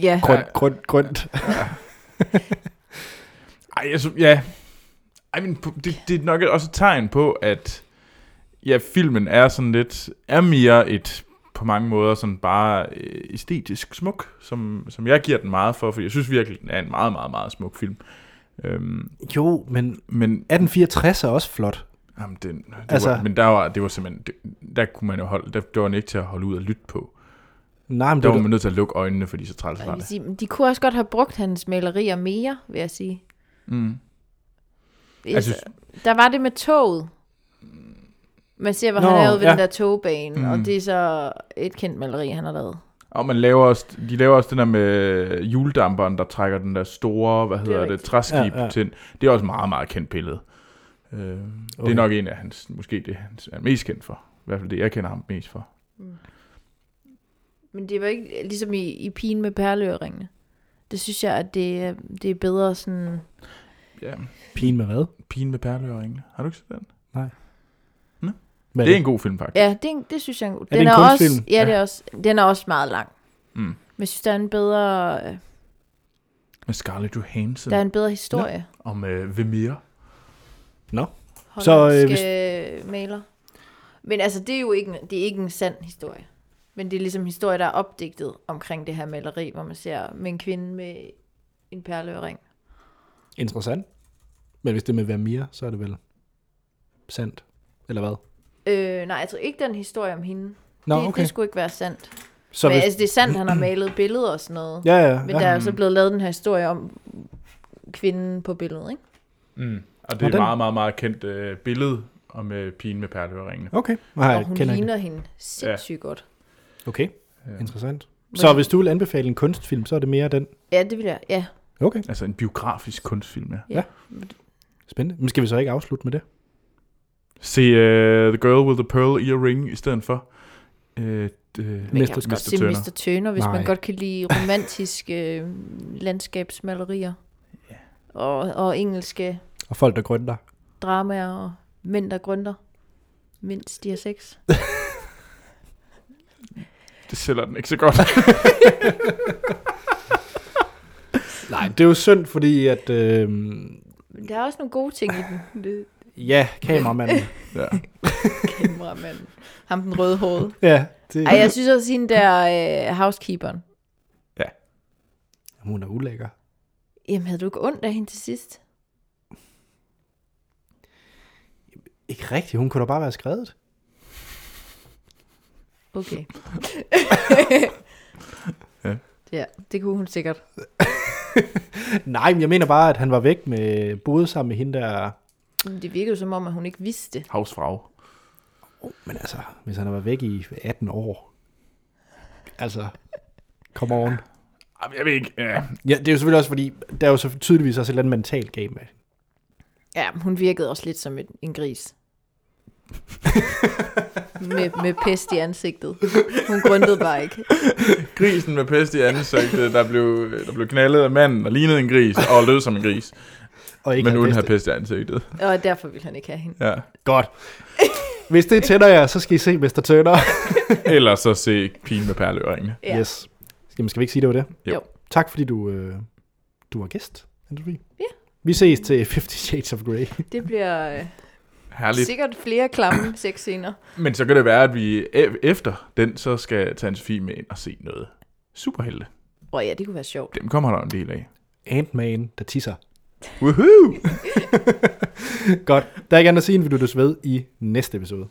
S3: Ja,
S1: Grønt, grønt, grønt.
S2: Ej, altså, ja. Ej, men på- det, det er nok også et tegn på, at ja, filmen er sådan lidt, er mere et på mange måder sådan bare øh, æstetisk smuk, som, som jeg giver den meget for, for jeg synes virkelig, den er en meget, meget, meget smuk film. Øhm,
S1: Jo, men
S2: men,
S1: 1864 er også flot.
S2: jamen, den, det altså,
S1: Altså-
S2: var, men der var, det var simpelthen, det, der kunne man jo holde, der, der var den ikke til at holde ud og lytte på.
S1: Nej, men det,
S2: Der var
S1: var,
S2: man nødt til at lukke øjnene, fordi så træls var
S3: jeg kan
S2: det.
S3: sige, men de kunne også godt have brugt hans malerier mere, vil jeg sige.
S2: Mm.
S3: Hvis,
S2: Altså,
S3: altså, der var det med toget. Man ser, hvad
S1: Nå,
S3: han lavede ved
S1: ja.
S3: den der togbane, mm. og
S2: Mm.
S3: det er så et kendt maleri, han har lavet.
S2: Og man laver også, de laver også den der med juledamperen, der trækker den der store, hvad hedder det,
S3: rigtigt.
S2: træskib
S1: Ja,
S2: ja,
S1: ja.
S2: ja. til. Det er også et meget, meget kendt billede. Øh, okay. Det
S1: Okay.
S2: er nok en af hans, måske det han er mest kendt for. I hvert fald det, jeg kender ham mest for.
S3: Men det var ikke ligesom i, i pigen med perleøringene. Det synes jeg, at det, er- det er bedre sådan...
S2: Ja,
S1: pin med hvad?
S2: Pigen med perleøringene. Har du ikke set den?
S1: hvad
S2: det er en god film, faktisk.
S3: Ja, det, er en- det synes jeg er en god.
S1: det
S3: Den
S1: en
S3: er også,
S1: kunstfilm?
S3: ja, det er også, den er også meget lang.
S2: Mm.
S3: Men jeg synes, der er en bedre, øh,
S2: Med Scarlett Johansson
S3: der er en bedre historie.
S2: om øh, Vermeer.
S1: Nå. Så, øh,
S3: Hollandske øh, maler. Men altså, det er jo ikke, en- det er ikke en sand historie. Men det er ligesom en historie, der er opdigtet omkring det her maleri, hvor man ser med en kvinde med en perleøring.
S1: Interessant. Men hvis det er med Vermeer, så er det vel sandt. Eller hvad?
S3: Øh, nej, jeg tror ikke, den historie om hende.
S1: Nå,
S3: det,
S1: okay.
S3: det skulle ikke være sandt.
S1: Så
S3: men
S1: hvis,
S3: altså, det er sandt, han har malet billeder og sådan noget.
S1: ja, ja,
S3: men
S1: ja.
S3: der er jo så blevet lavet den her historie om kvinden på billedet, ikke?
S2: Mm. Og det
S1: Nå,
S2: er et
S1: den-
S2: meget, meget, meget kendt øh, billede om øh, pigen med perleøringene.
S1: Okay. Nej,
S3: og hun
S1: kender ikke.
S3: ligner hende sindssygt ja. godt.
S1: Okay,
S2: Ja.
S1: interessant. Så hvis du vil anbefale en kunstfilm, så er det mere den.
S3: Ja, det vil jeg. Ja,
S1: Okay,
S2: Altså en biografisk kunstfilm, ja.
S1: spændende. Men skal vi så ikke afslutte med det?
S2: Se uh, The Girl with the Pearl Earring i stedet for. Uh, uh,
S3: men jeg
S1: Mr.
S3: kan
S2: Mr.
S3: også godt se
S2: Turner.
S3: Mr. Turner, hvis
S1: Nej.
S3: man godt kan lide romantiske øh, landskabsmalerier. Ja. Og, og engelske
S1: Og folk, der grønter.
S3: dramaer og mænd, der grønter, mens de har sex.
S2: Det sælger den ikke så godt.
S1: Nej, det er jo synd, fordi at... Øh,
S3: Men der er også nogle gode ting i den. Det
S1: ja, kameramanden.
S2: ja.
S3: kameramanden. Ham den røde hoved.
S1: ja, det,
S3: Ej, jeg synes også, hende der øh, housekeeperen.
S1: hun er ulækker.
S3: Jamen, havde du ikke ondt af hende til sidst?
S1: Ikke rigtigt, hun kunne da bare være skrevet.
S3: Okay.
S2: Ja.
S3: ja, det kunne hun sikkert.
S1: Nej, men jeg mener bare, at han var væk med... Boede sammen med hende der...
S3: Men det virkede jo som om, at hun ikke vidste det.
S2: Havsfrag.
S1: Men altså, hvis han har været væk i 18 år... Altså, come on.
S2: Jamen, jeg ved ikke. Ja.
S1: Ja, det er jo selvfølgelig også, fordi der er jo så tydeligvis også et eller andet mentalt game med.
S3: Ja, men hun virkede også lidt som en, en gris. med, med pest i ansigtet. Hun grundede bare ikke.
S2: Grisen med pest i ansigtet, der blev, der blev knaldet af manden og lignede en gris og lød som en gris.
S1: Og ikke
S2: men uden at have
S1: peste.
S2: pest i ansigtet.
S3: Og derfor ville han ikke have hende.
S2: Ja.
S1: Godt. Hvis det tænder jer, så skal I se Mr. Turner.
S2: Eller så se pigen med perleøringene.
S3: Ja.
S1: Yes. Jamen, skal vi ikke sige, det var det?
S2: Jo.
S3: Jo.
S1: Tak, fordi du, øh, du var gæst, Anne-Sophie.
S3: Ja.
S1: Vi ses til 50 Shades of Grey.
S3: Det bliver øh,
S2: Herligt.
S3: sikkert flere klamme sexscener.
S2: Men så kan det være, at vi e- efter den, så skal tage en Sofie med ind og se noget. Superhelte.
S3: Åh oh, ja, det kunne være sjovt.
S2: Dem kommer der en del af.
S1: Ant-Man, der tisser.
S2: Woohoo!
S1: Godt. Der er ikke andet at sige, end vi lyttes ved i næste episode.